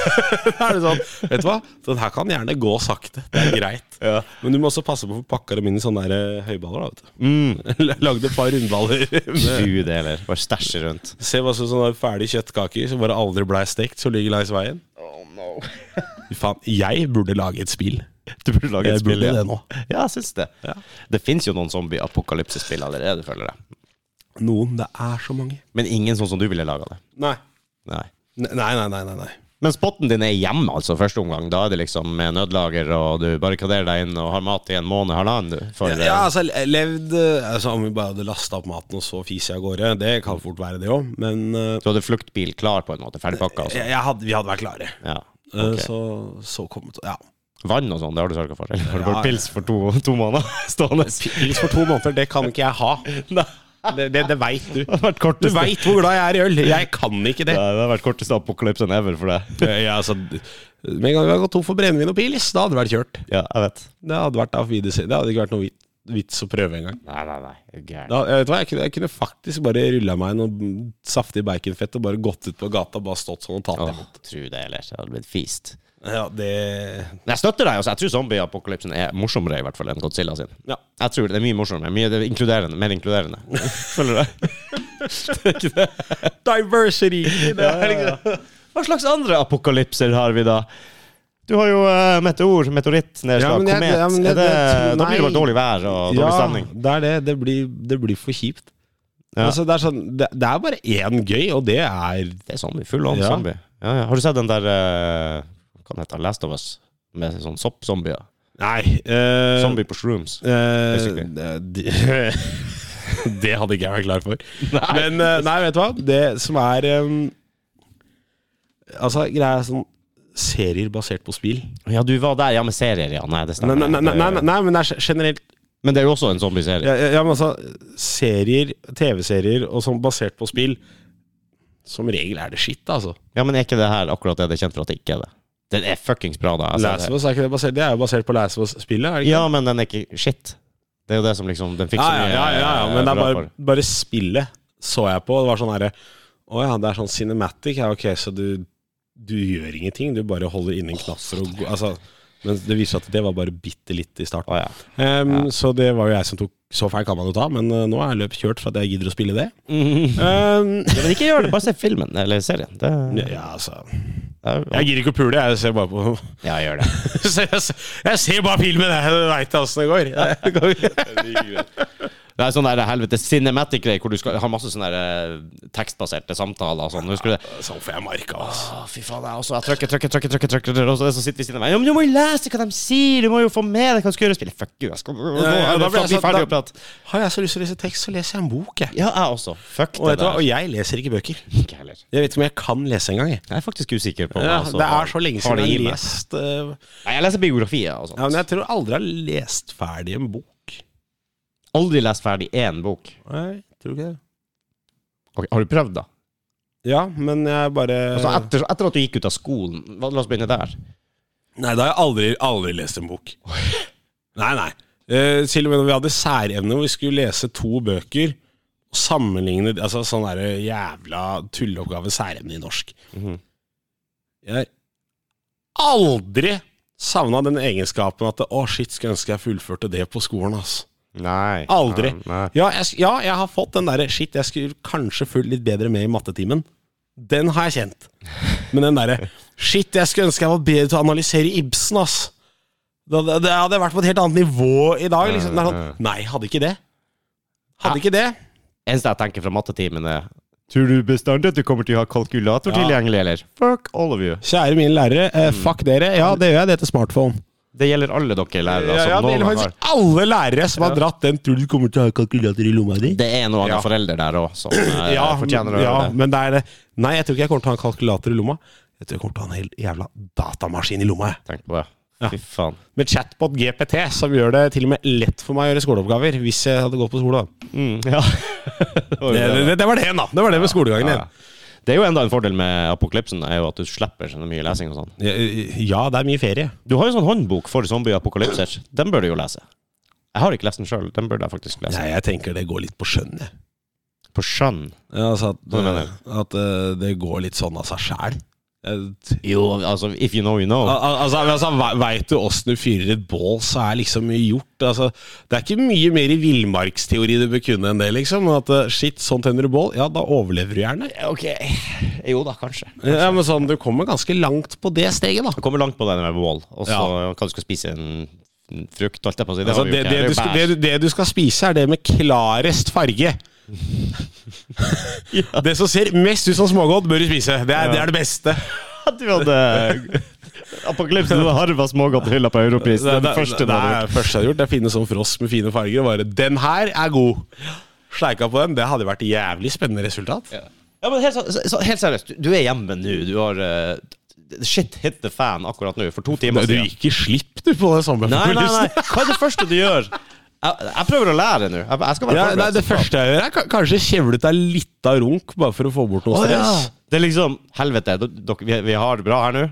(laughs) Da er det sånn, vet du hva? Den her kan gjerne gå sakte, det er greit.
Ja.
Men du må også passe på å få pakka dem inn i sånne der eh, høyballer. da, vet du.
Mm.
(laughs) Lagde et par rundballer. (laughs) med-
Gud heller. Bare stæsje rundt.
Se hva som sånne ferdige kjøttkaker som bare aldri blei stekt, som ligger langs veien.
Oh no.
(laughs) Fy Faen, jeg burde lage et spill.
(laughs) Du burde lage et
Jeg
spill
burde
igjen.
det nå.
Ja, jeg syns det. Det fins jo noen zombie-apokalypsespill allerede, føler jeg.
Noen. Det er så mange.
Men ingen sånn som du ville laga det.
Nei.
Nei.
Nei, nei, nei. nei, nei.
Men spotten din er hjemme, altså, første omgang. Da er det liksom med nødlager, og du barrikaderer deg inn og har mat i en måned, halvannen, du. For,
Ja, altså, levd eh, altså, Om vi bare hadde lasta opp maten og så fiser jeg av gårde, det kan fort være det òg, men eh,
Du hadde fluktbil klar, på en måte. Ferdig pakka, altså.
jeg, jeg hadde, vi hadde vært klare.
Ja.
Eh,
ok.
Så, så kom det Ja.
Vann og sånn, det har du sørga for? Eller har du
Ja,
bare pils for to, to måneder (laughs) stående?
Pils for to måneder, det kan ikke jeg (laughs) ha.
Nei.
Det, det, det veit du.
Det har vært
Du
korteste,
veit hvor glad jeg er i øl. Jeg kan ikke det.
Nei, det har vært korteste apokalypsen ever for deg.
Ja, altså, med en gang vi hadde gått tom for brennevin og pils, da hadde det vært kjørt.
Ja, jeg vet.
Det hadde, vært av videoserie. det hadde ikke vært noe vit- vits å prøve engang.
Nei, nei, nei. Gæren.
Jeg, vet du hva, jeg, kunne- jeg kunne faktisk bare rulla meg noe saftig baconfett og bare gått ut på gata og bare stått sånn og tatt
Åh,
det.
tro det, eller? Det hadde blitt fist.
Ja, det
Men jeg støtter deg. altså. Jeg tror zombie-apokalypsen er morsommere i hvert fall enn Godzilla sin.
Ja.
Jeg tror det er mye morsommere. Mye det er inkluderende, Mer
(laughs)
inkluderende. Føler du det?
(laughs) Diversity! Det er liksom-
Hva slags andre apokalypser har vi da? Du har jo eh, meteor, meteorittnedslag,
Ja, men jeg-
komet.
ja, men jeg-
er det,
jeg tror-
da blir det bare
nei.
dårlig vær og dårlig
Ja,
stemning.
det er det. Det blir, det blir for kjipt.
Ja.
Altså, det, er sånn, det, det er bare én gøy, og det er
Det er zombie. Full on
Ja.
zombie. Ja, ja. Har du sett den der eh, Hva den heter den? Last of Us? Med sånn soppzombier.
Nei. eh,
Zombie på shrooms.
Eh,
Basically.
det, det hadde ikke jeg vært klar for. Men eh, (laughs) nei, vet du hva? Det som er em, Altså, greia er sånn Serier basert på spill.
Ja, du var der. Ja, med serier, ja. Nei, det
Nei,
stemmer.
nei, nei, nei, nei, nei men det er generelt
Men det er jo også en zombieserie.
ja, ja, ja, men altså, Serier, TV-serier og sånn basert på spill Som regel er det skitt, altså.
Ja, men er ikke det her akkurat det det er kjent for at det ikke er det? Den er fuckings bra, da. Altså,
Last of Us er ikke det basert Det er jo basert på Last of Us-spillet. er det
det-
ikke?
Ja, men den er ikke shit. Det er jo det som liksom Den fikk
Ja,
så
ja,
mye
ja, ja, ja, men
eh,
det er
bra
bare,
for.
bare spillet så jeg på. og Det var sånn herre Å ja, det er sånn cinematic. Ja, ok, så du, du gjør ingenting. Du bare holder inne en knaster og går Altså, Men det viser seg at det var bare bitte litt i starten.
Å ja.
Ehm, Så det var jo jeg som tok Så feil kan man jo ta, men eh, nå er løpet kjørt for at jeg gidder å spille det. (laughs) Ehm,
Ja, Men ikke gjør det, bare se filmen eller serien. Det,
ja, altså
det er-
Jeg gidder ikke å pule, jeg ser bare på (laughs)
ja, gjør det.
Så jeg, jeg ser bare filmen, jeg veit åssen det går. Det går ikke.
Det er sånn der helvete cinematic-greier hvor du skal ha masse sånne der, eh, tekstbaserte samtaler og sånn. Husker du det?
Sånn får jeg marka, altså.
Å, fy faen, jeg også. Jeg trykker, trykker, trykker, trykker, trykker, trykker og så er det som sitter ved siden av meg. Ja, men du må jo lese hva de sier! Du må jo få med deg hva du skal gjøre. Spille. Fuck you, jeg skal gå.
ja, ja, da
da
blir jeg
blir
sånn-
ferdig
da-
å prate.
Har jeg så lyst til å lese tekst, så leser jeg en bok, jeg.
Ja, jeg også. Fuck det
Og, vet du hva?
der.
og jeg leser ikke bøker.
Ikke heller.
Jeg vet ikke om jeg kan lese engang. jeg.
Jeg er faktisk usikker på
Ja,
altså,
det er så lenge
har
siden
det i
jeg har
meg.
lest eh,
Nei, jeg leser biografier og sånt.
ja, Men jeg tror aldri jeg har lest ferdig en bok.
Aldri lest ferdig én bok.
Nei, tror ikke det.
Ok, har du prøvd, da?
Ja, men jeg bare
Altså, etter, etter at du gikk ut av skolen hva- La oss begynne der.
Nei, da har jeg aldri, aldri lest en bok. Nei, nei. Eh, til og med når vi hadde særevne hvor vi skulle lese to bøker og sammenligne altså sånn der jævla tulleoppgave særevne i norsk. Jeg har aldri savna den egenskapen at det, å, shit, skulle ønske jeg fullførte det på skolen, ass.
Nei.
Aldri.
Nei.
Ja, jeg, sk- ja, jeg har fått den derre shit, jeg skulle kanskje fulgt litt bedre med i mattetimen. Den har jeg kjent. Men den derre shit, jeg skulle ønske jeg var bedre til å analysere Ibsen, ass. Det, det, det hadde vært på et helt annet nivå i dag. Liksom. Det er sånn, nei, hadde ikke det. Hadde ikke det.
Eneste jeg tenker fra mattetimen, er Tror du bestandig at du kommer til å ha kalkulator tilgjengelig, eller? Fuck all of you.
Kjære mine lærere, eh, fuck dere. Ja, det gjør jeg. Det heter smartphone.
Det gjelder alle dere lærere.
Ja,
som
ja, det
noen
gjelder
gang har.
faktisk alle lærere som har dratt den 'tror du kommer til å ha kalkulator i lomma di'.
Det er noen
Ja.
av foreldre der òg som eh,
Ja,
fortjener å
ja,
høre det.
men det er det. Nei, jeg tror ikke jeg kommer til å ha en kalkulator i lomma. Jeg tror jeg kommer til å ha en hel jævla datamaskin i lomma. jeg.
Tenk på det. Fy faen.
Med chatbot GPT, som gjør det til og med lett for meg å gjøre skoleoppgaver. Hvis jeg hadde gått på skole, da.
Ja.
Mm, (laughs) Det, det, det var det, da. Det var det med skolegangen
Ja.
igjen.
Det er jo enda en fordel med apokalypsen, er jo at du slipper så mye lesing og sånn.
Ja, ja, det er mye ferie.
Du har jo sånn håndbok for zombie-apokalypser. Den bør du jo lese. Jeg har ikke lest den sjøl. Den burde jeg faktisk lese.
Nei, jeg tenker det går litt på skjønn, jeg.
På skjønn.
Ja, Altså at,
Hva mener
at eh, det går litt sånn av seg sjæl.
Jo, altså, if you know, you know.
Altså, men altså ve- Veit du åssen du fyrer et bål, så er liksom mye gjort. Altså, det er ikke mye mer i villmarksteori du bør kunne enn det, liksom. Men At eh, shit, sånn tenner du bål, ja, da overlever du gjerne.
Ok. Jo da, kanskje.
Ja, men sånn, Du kommer ganske langt på det steget, da.
Du kommer langt på den med bål, og så hva
Ja.
du skal spise en en frukt, holdt jeg på å si. Det
Altså,
har vi jo
det,
ikke.
det, du
Det
skal,
er jo
det, det du skal spise, er det med klarest
(laughs)
farge. (laughs) Det som ser mest ut som smågodt, bør du spise. Det er det, er det beste.
bær. (laughs) Du hadde apokalypsen hadde harva smågodt i hylla på Europris.
Det,
Den
det,
første
det,
du hadde
er det første jeg har gjort. Det er å finne sånn frosk med fine farger og bare Den her er god! Sleika på den. Det hadde vært jævlig spennende resultat.
Ja. Ja, men helt, så- så, så, helt seriøst, du, du er hjemme nå. Du har eh, Shit hit the fan akkurat nå, for to timer
Du ikke slipp du på det samme.
Nei, nei, nei. Hva er det første du gjør? Jeg, jeg prøver å lære nå. Jeg, jeg skal være
Ja,
forberedt
nei, det
som faen.
første jeg gjør, er ka- kanskje kjevle ut deg litt av runk, bare for å få bort noe
Å, ja.
stress.
Det er liksom Helvete, d- dere, vi, vi har det bra her nå.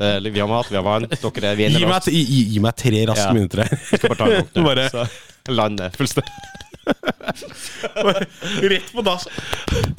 Eh, Vi har mat, vi har vann. Dere er vi er
Gi meg,
inne.
et- gi, gi- gi meg tre raske
Ja.
minutter
Vi skal bare ta en
Du
lukk
bare-
nå. Så lander fullstendig.
her. Rett på dass.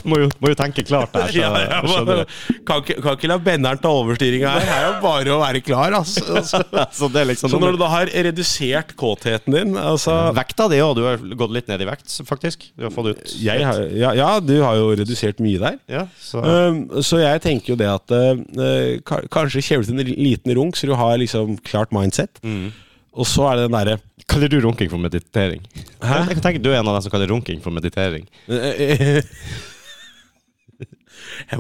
Må jo, må jo tenke klart der. Så,
(laughs) Ja, (laughs) ja,
skjønner
bare- kan, ikke- kan ikke la benderen ta overstyringa her. Det er jo bare å være klar, (laughs) altså.
du.
altså.
Så det er liksom
Så når du da har redusert kåtheten din altså,
Vekta di òg. Du har gått litt ned i vekt, faktisk. Du har Eh, fått ut
jeg har, ja, ja, du har jo redusert mye der.
Ja, så
Um, så jeg tenker jo det at uh, ka- kanskje kjevle til en liten runk, så du har liksom klart mindset. Og så er det den derre (laughs)
Kaller du runking for meditering? Hæ? Jeg kan tenke Du er en av dem som kaller runking for meditering.
Jeg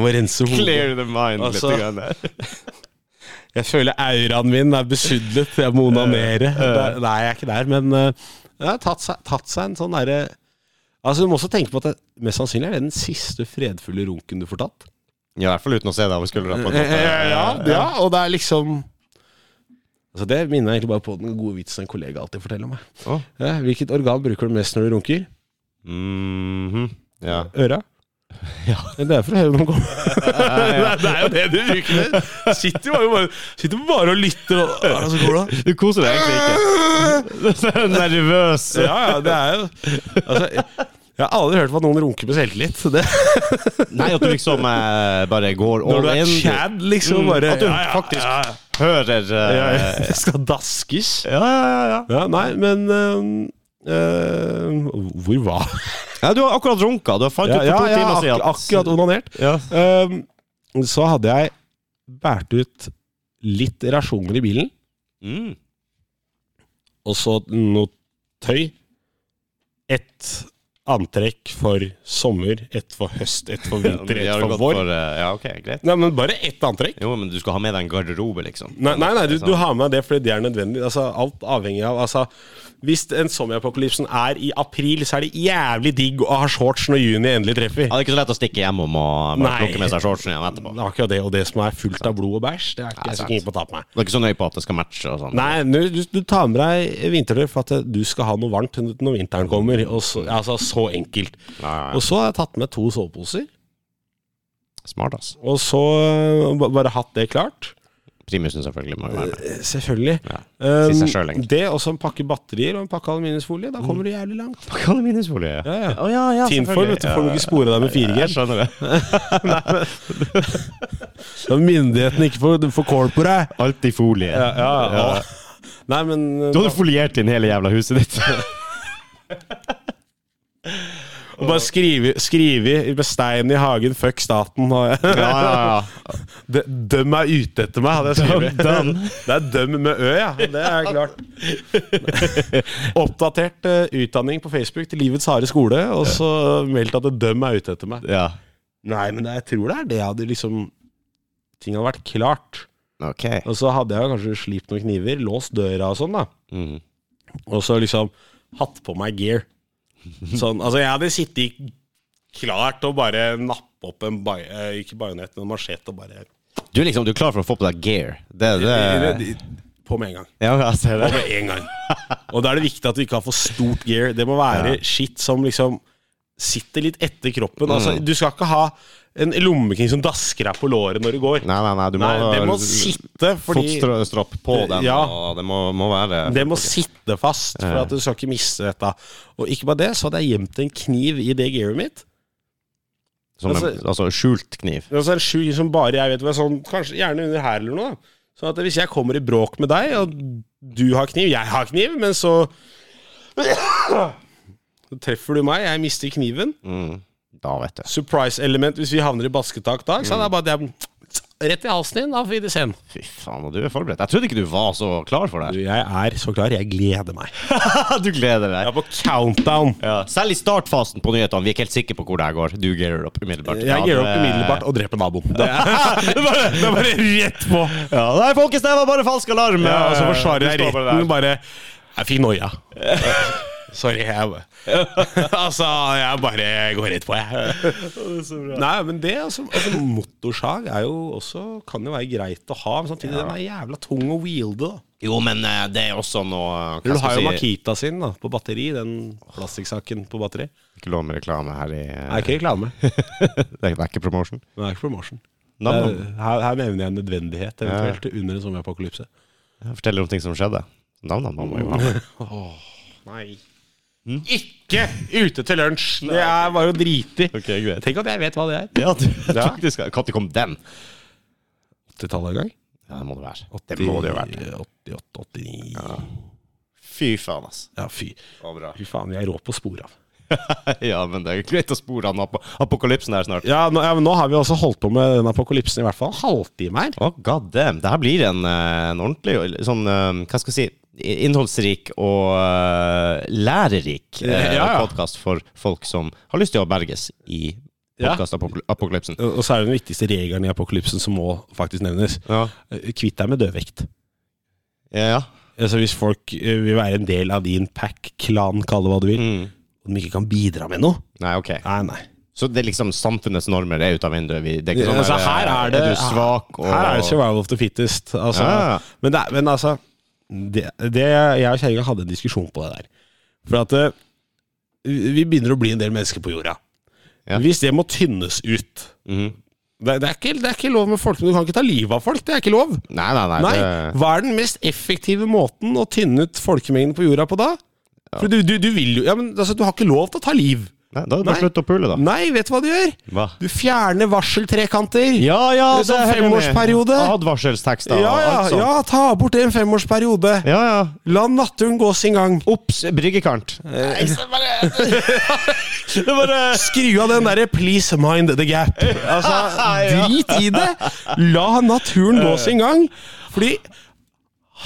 må rense hodet.
the mind
Altså-
grann der.
Jeg føler auraen min er besudlet. Jeg må onanere. Det- Nei, jeg er ikke der, men eh, det har tatt seg, tatt seg en sånn derre Altså Du må også tenke på at det, mest sannsynlig er det den siste fredfulle runken du får tatt.
Ja, I hvert fall uten å se deg over skuldra. på en måte.
og det er liksom Altså Det minner meg egentlig bare på den gode vitsen en kollega alltid forteller meg.
Å.
Ja, hvilket organ bruker du mest når du runker?
Mhm. (laughs) ja.
(laughs) Øra? Det er for å høre noen komme. det er jo det du bruker. Sitter jo bare, sitter bare og lytter. Og, og så går det.
Du koser deg egentlig ikke. Du er nervøs.
Ja, ja, det er jo (laughs) altså, Jeg har aldri hørt på at noen runker med selvtillit. Det,
Nei, at du liksom eh, bare går
når
all
du er
in.
Chad, liksom.
Mm,
Bare,
at du faktisk-
ja.
hører eh,
(laughs) Det skal daskes.
ja, ja, ja, ja.
Ja, nei, men eh, eh, Hvor var
ja. Du har akkurat runka. Du har fant ut for to timer siden
ak akkurat onanert.
Ja.
Ehm, så hadde jeg båret ut litt rasjoner i bilen,
Mm.
og så noe tøy. Et antrekk for sommer, et for høst, et
(laughs)
for vinter,
Ja,
et
har du
for
gått
vår.
for, eh, ja, ok, greit.
Nei, men bare ett antrekk.
Jo, men du skal ha med deg en garderobe, liksom.
Nei, nei, nei du, du har med det fordi det er nødvendig. Altså, alt avhengig av altså, Hvis en sommerpokalypsen er i april, så er det jævlig digg å ha shorts når juni endelig treffer.
Ja, det er ikke så lett å stikke hjem og må- bare
Nei.
plukke med seg shortsen igjen etterpå.
Det er Akkurat det, og det som er fullt av blod og bæsj, det er ikke jeg så
sant.
keen på å ta på meg.
Du er ikke så nøye på at det skal matche og sånn.
Nei, nu- du, du tar med deg vinterdør for at du skal ha noe varmt når vinteren kommer. Og så, altså, så enkelt.
Nei.
Og så har jeg tatt med to soveposer,
Smart, ass.
og så øh, ba- bare hatt det klart.
Primusen selvfølgelig må jo være med.
Eh, Selvfølgelig.
Ja. (laughs)
Um,
Si seg selv, egentlig.
det og så en pakke batterier og en pakke aluminiumsfolie. Da kommer du jævlig langt.
Hva kaller minnesfolie?
Ja, ja.
Å, ja, ja,
Tinfoil,
selvfølgelig.
vet du. Får du
Ja,
ikke spore deg med 4G.
Jeg skjønner det.
Da myndighetene ikke får, får kål på deg.
(laughs) Alt i folie.
Ja, ja, ja. Nei, men eh,
Du hadde foliert inn hele jævla huset ditt.
Bare skrive, skrive med stein i hagen 'fuck staten' og
(laughs) ja, ja,
De, døm er ute etter meg, hadde jeg skrevet.
Døm,
Det er døm med ø, ja. Det er klart. (laughs) Oppdatert eh, utdanning på Facebook til Livets harde skole, og så meldt at døm er ute etter meg.
ja. ja.
Nei, men det, jeg tror det er det jeg hadde liksom Ting hadde vært klart.
Ok.
Og så hadde jeg kanskje slipt noen kniver, låst døra og sånn, da.
Mhm.
Og så liksom hatt på meg gear. Sånn, altså jeg hadde sittet i- klart og bare nappe opp en bai- eh, ikke bajonett, men en machete og bare
Du er liksom du er klar for å få på deg gear. Det, det.
På med en gang.
Ja, jeg ser
Og
det.
med en gang. Og da er det viktig at du ikke har for stort gear. Det må være shit som liksom sitter litt etter kroppen. Altså, du skal ikke ha en lommekniv som dasker deg på låret når du går.
Nei, nei, nei. Du må,
Nei, det må sitte, fordi Eh,
Fotstropp på den,
Ja.
og det må, må være
det må sitte fast, for at du skal ikke miste dette. Og ikke bare det, så hadde jeg gjemt en kniv i det gearet mitt.
som en,
altså-
altså skjult kniv.
Altså en sju som bare jeg vet hva, sånn, kanskje gjerne under her eller noe. da. Sånn at hvis jeg kommer i bråk med deg, og du har kniv, jeg har kniv, men så (coughs) Så treffer du meg, jeg mister kniven.
Mm. Da vet du.
Surprise-element hvis vi havner i basketak da. ikke sant? Det er bare det er rett i halsen din, da får vi det sen.
Fy faen, og du er forberedt. Jeg trodde ikke du var så klar for det.
Jeg er så klar, jeg gleder meg. Jeg
(laughs) du gleder deg.
er på (laughs) countdown.
Ja. Selv i startfasen på nyhetene, vi er ikke helt sikre på hvor det her går. Du gearer opp umiddelbart.
Jeg gir opp
(laughs)
umiddelbart og dreper naboen. Det er, det er bare, det er bare rett på.
Ja, nei, folkens, det var bare falsk alarm.
Ja, og så forsvarer
Du
jeg
står bare der.
retten bare Jeg fikk noia. (laughs) Sorry, jeg bare- (laughs) Altså, jeg bare går rett på, jeg. Nei, men det, altså, altså Motorsag er jo også Kan jo være greit å ha, men samtidig den er jævla tung å wielde, da.
Jo, men eh, det er også noe eh, hva
Du
skal
har jo
jeg si?
Makita sin da, på batteri, den plastikksaken på batteri.
Ikke lov med reklame her i eh,
(laughs) Det er ikke reklame.
det, er, det er ikke promotion.
Det er ikke promotion.
Nam, nam.
Det er- Her, her nevner jeg en nødvendighet, eventuelt, under en sommerpokalypse.
Jeg forteller om ting som skjedde. Nam, nam, nam, må jo ha.
(laughs) Nei. Ikke ute til lunsj! Det er bare å drite i.
Ok, greit.
Tenk at jeg vet hva det er.
(laughs) Ja, du, jeg
Ja.
tror ikke du skal Når kom den?
80-tallet en gang?
Ja, det må det være. Det må det jo være.
88, 89 Ja,
Fy faen, ass.
fy.
Det var bra.
Fy faen, vi er rå på sporet av.
(laughs) ja, men det er greit å spore han ap apokalypsen her snart.
Ja, nå, ja, men nå har vi også holdt på med den apokalypsen i hvert fall en halvtime her.
Å, god damn. Det her blir en, eh, en ordentlig sånn eh, Hva skal jeg si i- Innholdsrik og eh, lærerik eh,
Ja, ja.
podkast for folk som har lyst til å berges i
Ja.
podkast-apokalypsen.
Og så er det den viktigste regelen i apokalypsen som må faktisk nevnes. Eh,
Ja.
Kvitt deg med dødvekt.
ja, ja.
Altså Hvis folk eh, vil være en del av din pack, klan, kall det hva du vil,
Mm.
og de ikke kan bidra med noe
Nei, ok.
Nei, nei.
Så det er liksom samfunnets normer er ut av vinduet? Vi- Det er ikke sånn
Altså,
der,
her er det
Er du svak og
Her er det survival of the fittest. Altså,
Ja.
men, det, er- men altså det, det Jeg og kjerringa hadde en diskusjon på det der. For at eh, vi vi begynner å bli en del mennesker på jorda.
Ja.
Hvis det må tynnes ut
Mhm.
det, det, er ikke, det er ikke lov med folk, men du kan ikke ta livet av folk. Det er ikke lov.
Nei, nei, nei.
Nei,
Det,
Hva er den mest effektive måten å tynne ut folkemengden på jorda på da? For du, du, du vil jo ja, men, altså, Du har ikke lov til å ta liv.
Nei, da er det bare
Nei.
slutt å pule, da.
Nei, vet du hva du gjør?
Hva?
Du fjerner varseltrekanter!
Ja, ja,
Det er sånn
jeg enig i.
femårsperiode.
Advarselstekster og
ja, ja,
alt sånt.
ja, ta bort det i en femårsperiode!
Ja, ja.
La naturen gå sin gang.
Ops, bryggekant. Nei, så bare (laughs) Det bare
Skru av den derre 'please mind the gap'. (laughs) Altså,
Ja.
Drit i det! La naturen gå sin gang. Fordi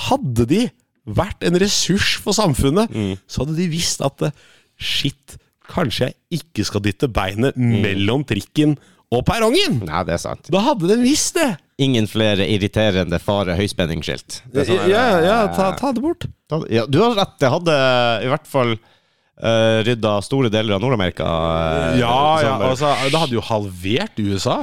hadde de vært en ressurs for samfunnet, så hadde de visst at eh, shit, kanskje jeg ikke skal dytte beinet mellom trikken og perrongen.
Nei, det er sant.
Da hadde de visst det!
Ingen flere irriterende fare høyspenningsskilt. Det er sånn her,
ja, ja,
eh,
ta, ta det bort.
ta- ja, Du har rett, det hadde i hvert fall uh, rydda store deler av Nord-Amerika. eh,
Ja, ja,
sammen.
altså, det hadde jo halvert USA.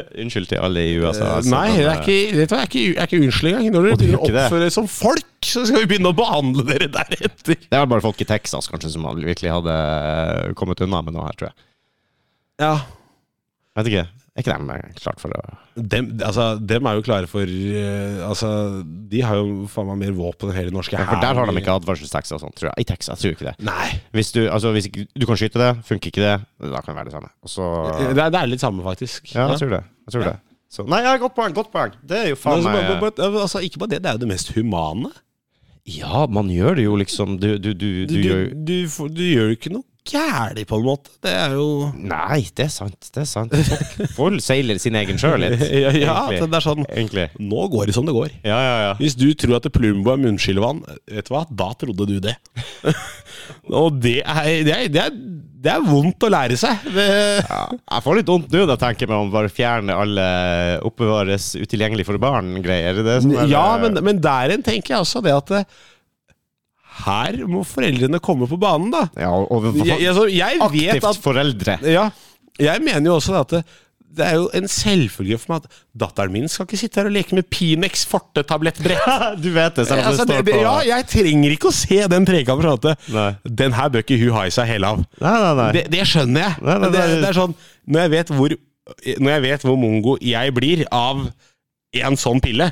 Unnskyld til alle i USA. altså,
Nei,
men,
jeg
eh,
er ikke, vet du, hva, jeg er ikke, jeg er ikke unnskyld engang. Når dere
du
begynner å
ikke det?
oppføre dere som folk, så skal vi begynne å behandle dere deretter.
Det er vel bare folk i Texas kanskje som hadde- virkelig hadde eh, kommet unna med noe her, tror jeg.
Ja.
Vet ikke. Er ikke de eh, klart for å
Dem, altså, dem er jo klare for eh, Altså, de har jo faen meg mer våpen enn hele den norske
For der har de ikke advarselstekster og sånt, tror jeg. I Texas tror jeg ikke det.
Nei.
Hvis du, altså, hvis ikke, du kan skyte det, funker ikke det, da kan det være det samme. Og så
Det er, det er litt samme, faktisk.
Ja, jeg tror det. Jeg tror det. Så, nei, ja, godt poeng, godt poeng. Det er jo faen
Men altså,
meg
bare- bare- altså, ikke bare det, det er jo det mest humane.
Ja, man gjør det jo liksom Du, du, du, du,
Du, du,
gjør
du, får- du gjør jo ikke noe gærent, på en måte. Det er jo
Nei, det er sant. Det er sant. Folk- Folk seiler sin egen sjø litt.
(laughs) Ja, ja
egentlig.
det er sånn
Egentlig.
Nå går det som det går.
Ja, ja, ja.
Hvis du tror at Plumbo er munnskyllevann, vet du hva, da trodde du det. (laughs) Og det er, det, er, det, er, det er vondt å lære seg. Det-
Ja, jeg får litt vondt nå, da, tenker jeg meg om bare fjerne alle oppbevares utilgjengelig for barn-greier. Det er sånn der-
Ja, men, men der igjen tenker jeg også det at eh, her må foreldrene komme på banen, da.
Ja, og, og
Jeg, jeg, altså, jeg vet
aktivt
at
foreldre.
ja, Jeg mener jo også det at det, det er jo en selvfølge for meg at datteren min skal ikke sitte her og leke med Pinex
(laughs)
fortetablettbrett. (laughs)
du vet det, selv om
Altså,
det
det,
står
det,
på
ja, jeg trenger ikke å se den trekampen. sånn at det-
Nei.
Den her bør ikke hun ha i seg hele av.
Nei, nei, nei.
Det, det skjønner jeg.
Nei, nei,
det,
nei.
det er sånn, når jeg vet hvor Når jeg vet hvor mongo jeg blir av en sånn pille,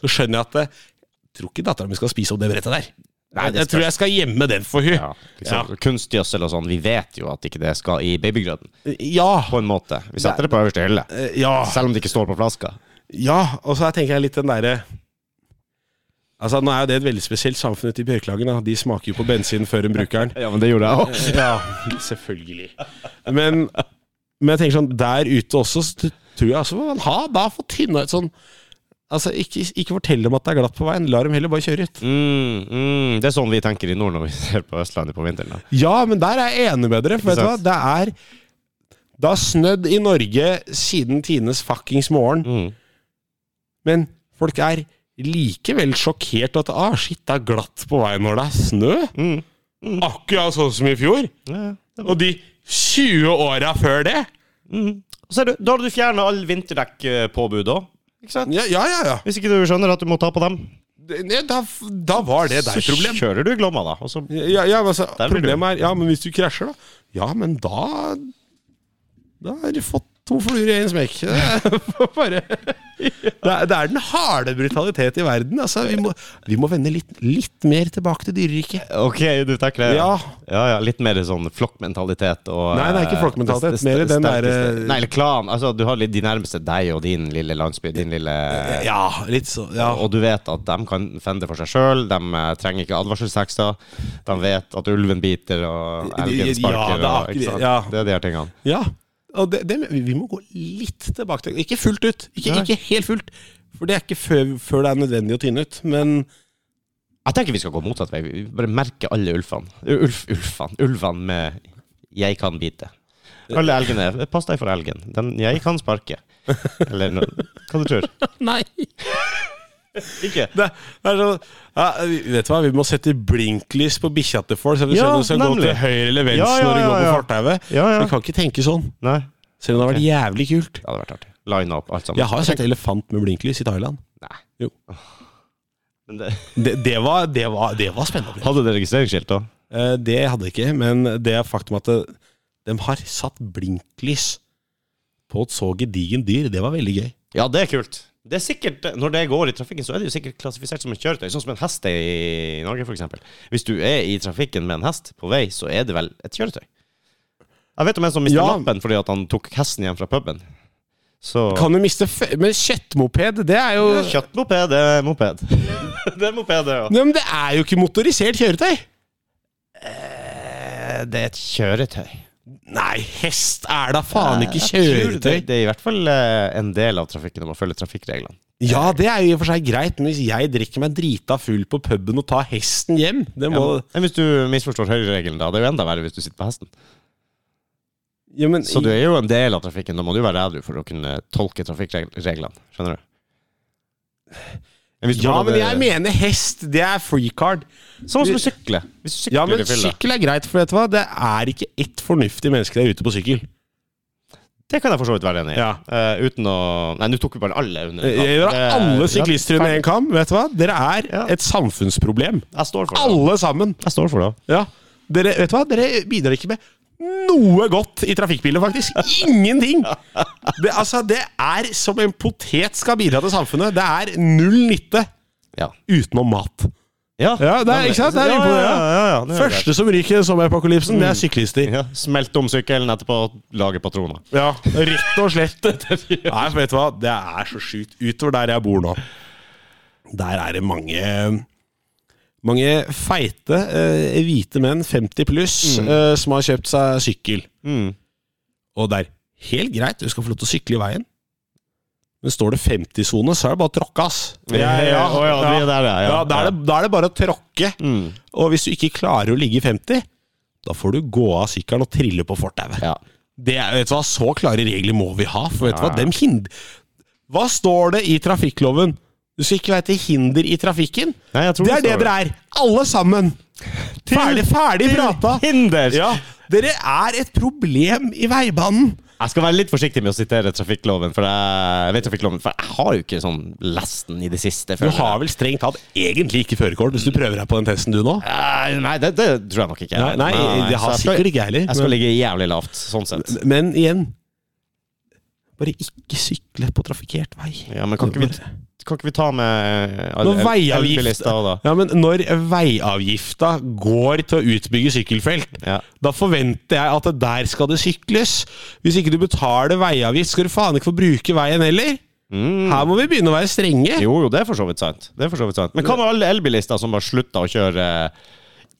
så skjønner jeg at eh, jeg tror ikke dattera mi skal spise opp det brettet der.
Nei, det
jeg tror jeg skal gjemme den for hun
Ja,
Ja,
liksom, Kunstgjødsel og sånn, vi vet jo at ikke det skal i babygrøten.
ja.
På en måte. Vi setter det på øverste hylle.
eh, ja.
Selv om det ikke står på flaska.
ja. Og så her tenker jeg litt den derre Altså, Nå er jo det et veldig spesielt samfunn ute i Bjørklagen. Da. De smaker jo på bensin før de bruker den.
Ja, men det gjorde jeg òg.
Ja, selvfølgelig. Men, men jeg tenker sånn, der ute også så t- tror jeg altså må man ha da få tynna ut sånn Altså, ikke, ikke fortell dem at det er glatt på veien, la dem heller bare kjøre ut.
Mm, mm, det er sånn vi tenker i nord når vi (laughs) ser på Østlandet på vinteren. Da.
Ja, men der er jeg enig med dere, for vet du hva,
sant?
det er Det har snødd i Norge siden tidenes fuckings morgen,
Mm.
men folk er likevel sjokkert at ah, shit, det er glatt på veien når det er snø.
Mm.
Akkurat sånn som i fjor.
Ja, ja. Det var-
Og de 20 åra før det.
Mm. Ser du, da har du fjerna all vinterdekkpåbud òg. Ikke sant?
Ja, ja, ja. ja.
Hvis ikke du skjønner at du må ta på dem,
Det- Nei, da, da var det
så
deg problem.
kjører du i Glomma, da. Og så
Ja, ja, altså,
Der blir
problemet er Ja, men hvis du krasjer, da? Ja, men da Da har du fått to fluer i én (laughs) smekk. Det er Bare det er, det er den harde brutalitet i verden. Altså, vi, må, vi må vende litt, litt mer tilbake til dyreriket.
Ok, du takler det?
Ja.
ja, ja, Litt mer sånn flokkmentalitet og
Nei, det er ikke
eh,
flokkmentalitet,
det- det-
mer
det
den eh,
sterkeste-
derre-
Nei, eller klan. Altså, du har litt de nærmeste deg og din lille landsby, din lille
Ja, litt så ja.
Og du vet at de kan fende for seg sjøl, de eh, trenger ikke advarselstekster. De vet at ulven biter og elgen
Ja,
sparker.
det er
og-
akkurat-
ikke sant?
ja.
Det er de her tingene.
ja. Og det, det, vi må gå litt tilbake til Ikke fullt ut. Ikke,
Nei.
ikke helt fullt. For det er ikke før, før det er nødvendig å tynne ut. Men
Jeg tenker vi skal gå motsatt vei. Vi bare merker alle ulfene. Ulf, ulfene. Ulvene med 'jeg kan bite'. Alle elgene. Pass deg for elgen. Den 'jeg kan sparke'. Eller noe. Hva du tror?
Nei!
Ikke?
Det, det er sånn, ja, vi- vet du hva, vi må sette blinklys på bikkja til folk, så vi skjønner
Ja,
om du skal gå
nemlig.
til høyre eller venstre
Ja, ja,
når du går
ja,
på
ja.
fortauet.
Ja, ja.
Vi kan ikke tenke sånn,
Nei. Det
selv om det har vært jævlig kult.
hadde vært artig. Line opp alt sammen.
Jeg har sett elefant med blinklys i Thailand.
Nei.
Jo.
Men det,
Det, det, var, det, var, det var spennende. å bli.
(laughs) hadde det registreringsskilt, da?
Eh, Det hadde jeg ikke, men det er faktum at det, de har satt blinklys på et så gedigent dyr. Det var veldig gøy.
Ja, det er kult. Det er sikkert, Når det går i trafikken, så er det jo sikkert klassifisert som et kjøretøy. Sånn som en hest er i Norge, f.eks. Hvis du er i trafikken med en hest på vei, så er det vel et kjøretøy. Jeg vet om en som mista
Ja.
lappen fordi at han tok hesten hjem fra puben. Så
Kan du miste fe Men kjøttmoped, det er jo
Kjøttmoped er moped. (laughs) det er moped, det, ja.
Nei, men det er jo ikke motorisert kjøretøy!
Eh, Det er et kjøretøy.
Nei, hest er da faen ikke
Eh, Jeg tror Det,
kjøretøy!
det er i hvert fall eh, en del av trafikken om å følge trafikkreglene.
Ja, det er jo i og for seg greit, men hvis jeg drikker meg drita full på puben og tar hesten hjem Det må
Men hvis du misforstår høyreregelen, da. Det er jo enda verre hvis du sitter på hesten.
ja, men,
Så du er jo en del av trafikken. Da må du være edru for å kunne tolke trafikkreglene. Skjønner du? Men hvis du
ja,
bare
men
hadde-
jeg mener hest! Det er free card.
Samme som å sykle. Hvis du sykler
Ja,
i
men
fylla.
sykkel er greit, for vet du hva? det er ikke ett fornuftig menneske der ute på sykkel.
Det kan jeg for så vidt være enig i.
Ja.
Eh, uten å Nei, nå tok vi bare alle under en kam.
Jeg gjør
Det er-
alle syklister under én kam. Vet du hva? Dere er
Ja.
et samfunnsproblem.
Jeg står for det.
Alle sammen.
Jeg står for det.
Ja. Dere, vet du hva? Dere bidrar ikke med noe godt i trafikkbiler, faktisk. Ingenting! Det, altså, det er som en potet skal bidra til samfunnet. Det er null nytte
Ja.
utenom mat.
Ja,
Ja, det er, ikke sant? Det er
Ja,
imponerende.
ja, ja, ja, det er greit.
Første som ryker i sommerpokalypsen, det er syklister.
Mm. ja. Smelt om sykkelen etterpå, lage patroner.
Ja, rett og
(laughs)
slett. (laughs) Nei, for vet du hva? Det er så sjukt. Utover der jeg bor nå, der er det mange mange feite eh, hvite menn, 50 pluss, eh, som har kjøpt seg sykkel.
Mm.
Og det er helt greit, du skal få lov til å sykle i veien. Men står det 50-sone, så er det bare å tråkke, ass.
Å ja, de er der, ja, ja.
Ja, da er det, da er det bare å tråkke.
Mm.
Og hvis du ikke klarer å ligge i 50, da får du gå av sykkelen og trille på fortauet.
Ja.
Det er, vet du hva, Så klare regler må vi ha. For vet du
Ja,
hva,
ja.
dem hind... Hva står det i trafikkloven? Du skal ikke være til hinder i trafikken.
Nei, jeg tror
Det er det dere er. Alle sammen. Ferdig, ferdig prata.
Hinder!
Ja, dere er et problem i veibanen.
Jeg skal være litt forsiktig med å sitere trafikkloven, for jeg, jeg vet trafikkloven, for jeg har jo ikke sånn lest den i det siste.
Du
føler jeg.
har vel strengt tatt egentlig ikke førerkort hvis du prøver deg på den testen du nå?
Eh, Nei, det, det tror jeg nok ikke.
Nei, nei, det har
Så jeg skal-
sikkert ikke jeg heller.
Jeg skal ligge jævlig lavt, sånn sett.
Men igjen Bare ikke sykle på trafikkert vei.
Ja, men kan ikke vi, kan ikke vi ta med eh,
Når
el-
veiavgift-
elbilister da?
Ja, men når veiavgifta går til å utbygge sykkelfelt,
Ja.
da forventer jeg at det der skal det sykles. Hvis ikke du betaler veiavgift, skal du faen ikke få bruke veien heller.
Mm.
Her må vi begynne å være strenge.
Jo, jo, det er for så vidt sant. Det er for så vidt sant. Men hva med alle elbilister som bare slutta å kjøre eh,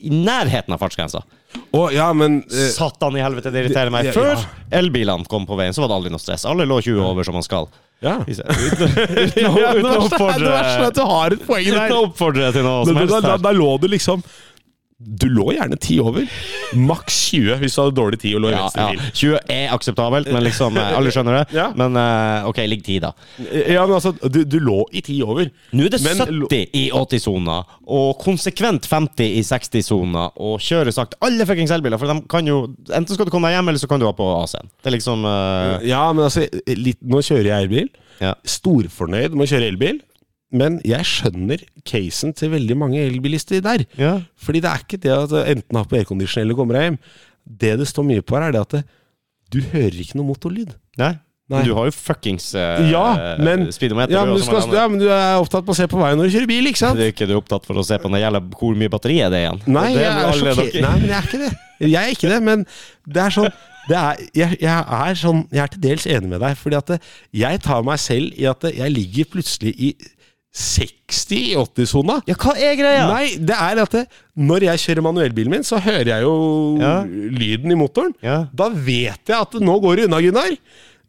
i nærheten av fartsgrensa?
Å, ja, men eh,
Satan i helvete, det irriterer meg.
det- ja.
Før elbilene kom på veien, så var det aldri noe stress. Alle lå 20 over som man skal.
ja. (laughs)
Uten, uten, å-
Ja,
uten å
det verste er- det
oppfordre
verste er at du har et poeng
Uten
der.
å oppfordre til noe som
Men da,
helst
da,
her.
da lå du liksom Du lå gjerne 10 over. Maks 20 hvis du hadde dårlig tid og lå i
Ja,
venstre
ja.
bil.
20 er akseptabelt, men liksom eh, Alle skjønner det.
Ja.
Men eh, OK, ligg 10, da.
Ja, men altså, du, du lå i 10 over.
Nå er det
Men-
70 i 80-sona, og konsekvent 50 i 60-sona, og kjøre sakte. Alle fuckings elbiler, for de kan jo Enten skal du komme deg hjem, eller så kan du ha på AC-en. Det er liksom eh,
Ja, men altså, litt, nå kjører jeg elbil.
Ja.
Storfornøyd med å kjøre elbil. Men jeg skjønner casen til veldig mange elbilister der.
ja.
Fordi det er ikke det at enten har på aircondition eller kommer deg hjem. Det det står mye på her, er det at det, du hører ikke noe motorlyd.
Nei.
Nei.
Du har jo fuckings eh,
Ja, men-
speedometer.
Ja,
du,
men du,
og så mange
skal, ja, men du er opptatt på å se på veien når du kjører bil, ikke sant?
Det er ikke du opptatt for å se på den jævla hvor mye batteri er det igjen?
Nei,
det
jeg
må
er
alle
sjokker-
dere-
Nei, men jeg er ikke det. Jeg er ikke det, men det er sånn det er, jeg, jeg, er sånn, jeg er til dels enig med deg, fordi at det, jeg tar meg selv i at det, jeg ligger plutselig i 60 i 80-sona.
Ja, hva er greia?
Nei, det er at det, når jeg kjører manuellbilen min, så hører jeg jo
Ja.
lyden i motoren.
Ja.
Da vet jeg at det nå går det unna, Gunnar.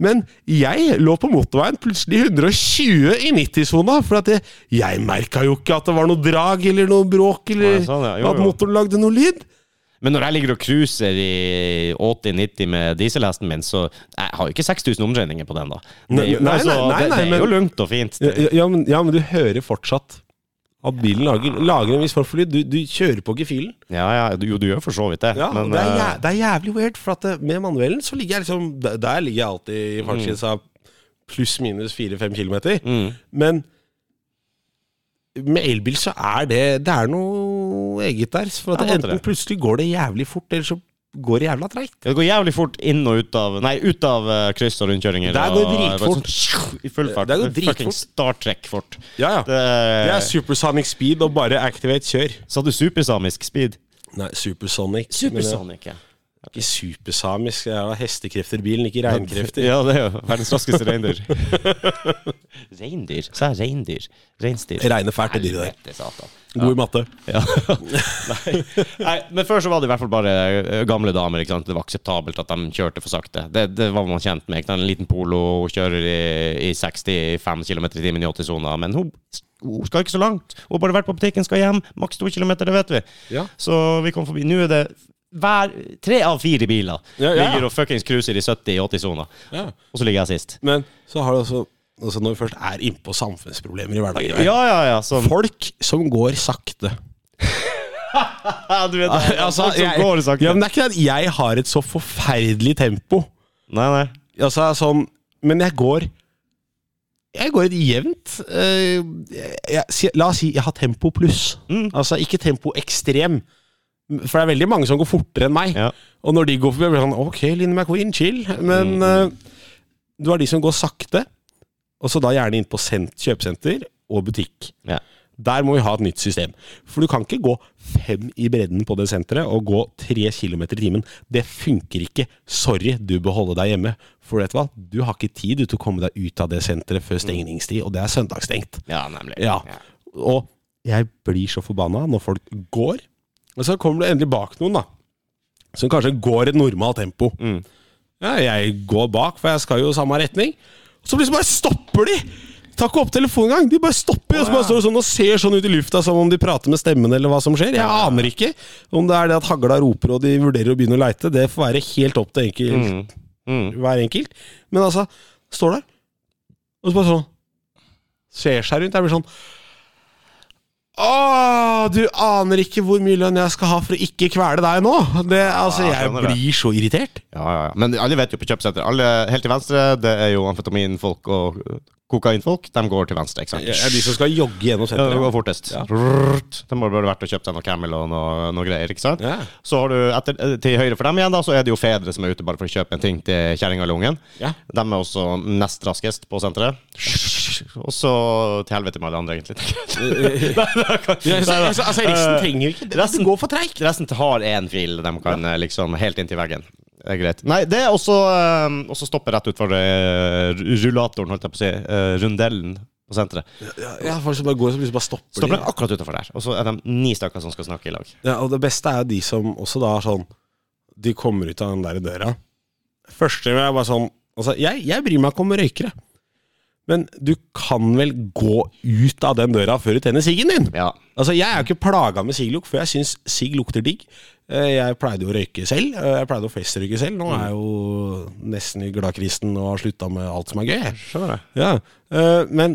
Men jeg lå på motorveien plutselig 120 i 90-sona, for at jeg, jeg merka jo ikke at det var noe drag eller noe bråk, eller
Nei, sånn, ja. Jo, jo.
at motoren lagde noe lyd.
Men når jeg ligger og cruiser i 80-90 med dieselhesten min, så jeg har jo ikke 6000 omdreininger på den, da. Det er jo,
Nei, nei,
altså,
nei,
det,
nei,
det er jo
men-
lugnt og fint.
Ja, ja, men, ja, men du hører fortsatt at bilen lager, lager en viss form for lyd. Du, du kjører på gefühlen.
Ja, ja, du- jo, du gjør for så vidt det.
Ja,
men
og det, er
eh,
jæ- det er jævlig weird, for at eh, med manuellen så ligger jeg liksom Der, der ligger jeg alltid i fartsgrensa pluss-minus 4-5 kilometer.
Mm.
Men med elbil så er det Det er noe eget der. For at
Jeg hater
enten
det.
plutselig går det jævlig fort, eller så går det jævla treigt.
det går jævlig fort inn og ut av Nei, ut av eh, kryss og rundkjøringer.
Det går
og-
dritfort.
bare sånn, I full fart.
Det går
er
dritfort.
fucking Star Trek-fort.
Ja, ja.
Det
Det er
er-
supersonic speed og bare activate kjør.
Sa du supersamisk speed?
Nei, supersonic. eh,
Supersonic, ja.
Ikke supersamisk. Jeg har hestekrefter i bilen, ikke reinkrefter.
Ja, det er jo verdens raskeste
(laughs)
reindyr. reindyr? Sa jeg reindyr? Reinsdyr?
Jeg regner fælt i de der.
Helvete, satan.
God i matte.
Ja. (laughs) Nei. Nei, men før så var det i hvert fall bare eh, gamle damer. Ikke sant? Det var akseptabelt at de kjørte for sakte. Det, det var man kjent med. Ikke sant? En liten polo hun kjører i, i 65 km i timen i 80-sona, men hun, hun skal ikke så langt. Hun har bare vært på butikken, skal hjem. Maks to km, det vet vi.
Ja.
Så vi kom forbi. Nå er det hver, tre av fire biler
Ja, ja, ja.
ligger og fuckings cruiser i 70 i 80-sona,
Ja.
og så ligger jeg sist.
Men så har du altså, altså Når vi først er innpå samfunnsproblemer i hverdagen
Ja, ja, ja. sånn. Så,
(laughs) Folk som går sakte.
du vet, det er
Altså,
folk sånn som
jeg,
går sakte.
Ja, men det er ikke det at jeg har et så forferdelig tempo.
Nei, nei.
Altså, sånn, men jeg går Jeg går et jevnt eh, jeg, si- La oss si jeg har tempo pluss.
Mm.
Altså ikke tempo ekstrem. For det er veldig mange som går fortere enn meg.
Ja.
Og når de går forbi, blir det sånn Ok, Linn McQueen, chill. Men eh, du har de som går sakte, og så da gjerne inn på sent, kjøpesenter og butikk.
Ja.
Der må vi ha et nytt system. For du kan ikke gå fem i bredden på det senteret og gå tre kilometer i timen. Det funker ikke. Sorry, du bør holde deg hjemme. For vet du hva? Du har ikke tid du, til å komme deg ut av det senteret før stengningstid, og det er søndagsstengt.
ja, nemlig.
Ja. Og jeg blir så forbanna når folk går. Og så kommer det endelig bak noen, da. Som kanskje går et normalt tempo.
Mm.
Ja, jeg går bak, for jeg skal jo samme retning. Og så plutselig bare stopper de! Tar ikke opp telefonen engang. De bare stopper og så bare står de sånn og ser sånn ut i lufta som om de prater med stemmen eller hva som skjer. Jeg aner ikke om det er det at hagla roper og de vurderer å begynne å leite. Det får være helt opp til enkel,
Mm. Mm.
hver enkelt. Men altså, står der, og så bare sånn Ser seg rundt. Jeg blir sånn Åh, du aner ikke hvor mye lønn jeg skal ha for å ikke kvele deg nå! Det, altså,
Ja,
jeg
skjønner det.
blir så irritert.
Ja, ja, ja. Men alle vet jo på kjøpesenter. Alle helt til venstre, det er jo amfetaminfolk og uh, kokainfolk. De går til venstre, ikke sant?
Det er de som skal jogge gjennom
Ja, det
senteret.
går fortest. Rrrt. De har bare vært og kjøpt seg noe Camel og noe, noe greier, ikke sant?
Ja.
Så har du etter, eh, til høyre for dem igjen, da, så er det jo fedre som er ute bare for å kjøpe en ting til kjerringa eller ungen.
Ja.
De er også nest raskest på senteret. Og så til helvete med alle andre, egentlig.
altså, altså, altså, resten trenger ikke det.
Resten går for treigt. Resten har én fil de kan eh, liksom helt inntil veggen. Det er greit. Nei, det er også, eh, også stoppet rett utfor eh, rullatoren, holdt jeg på å si. eh, rundellen på senteret.
Ja, folk som bare går som liksom bare stopper. de.
Stopper den akkurat utenfor der. Og så er de ni stykker som skal snakke i lag.
Ja, og det beste er jo de som også da har sånn De kommer ut av den der døra. Første gang er jeg bare sånn Altså, jeg, jeg bryr meg ikke om røykere. Men du kan vel gå ut av den døra før du tenner siggen din?
Ja.
Altså, Jeg er jo ikke plaga med sigglukt, for jeg syns sigg lukter digg. Eh, Jeg pleide jo å røyke selv. eh, Jeg pleide å festrøyke selv. Nå er jeg jo nesten i gladkristen og har slutta med alt som er gøy. jeg.
Skjønner det.
Ja, eh, men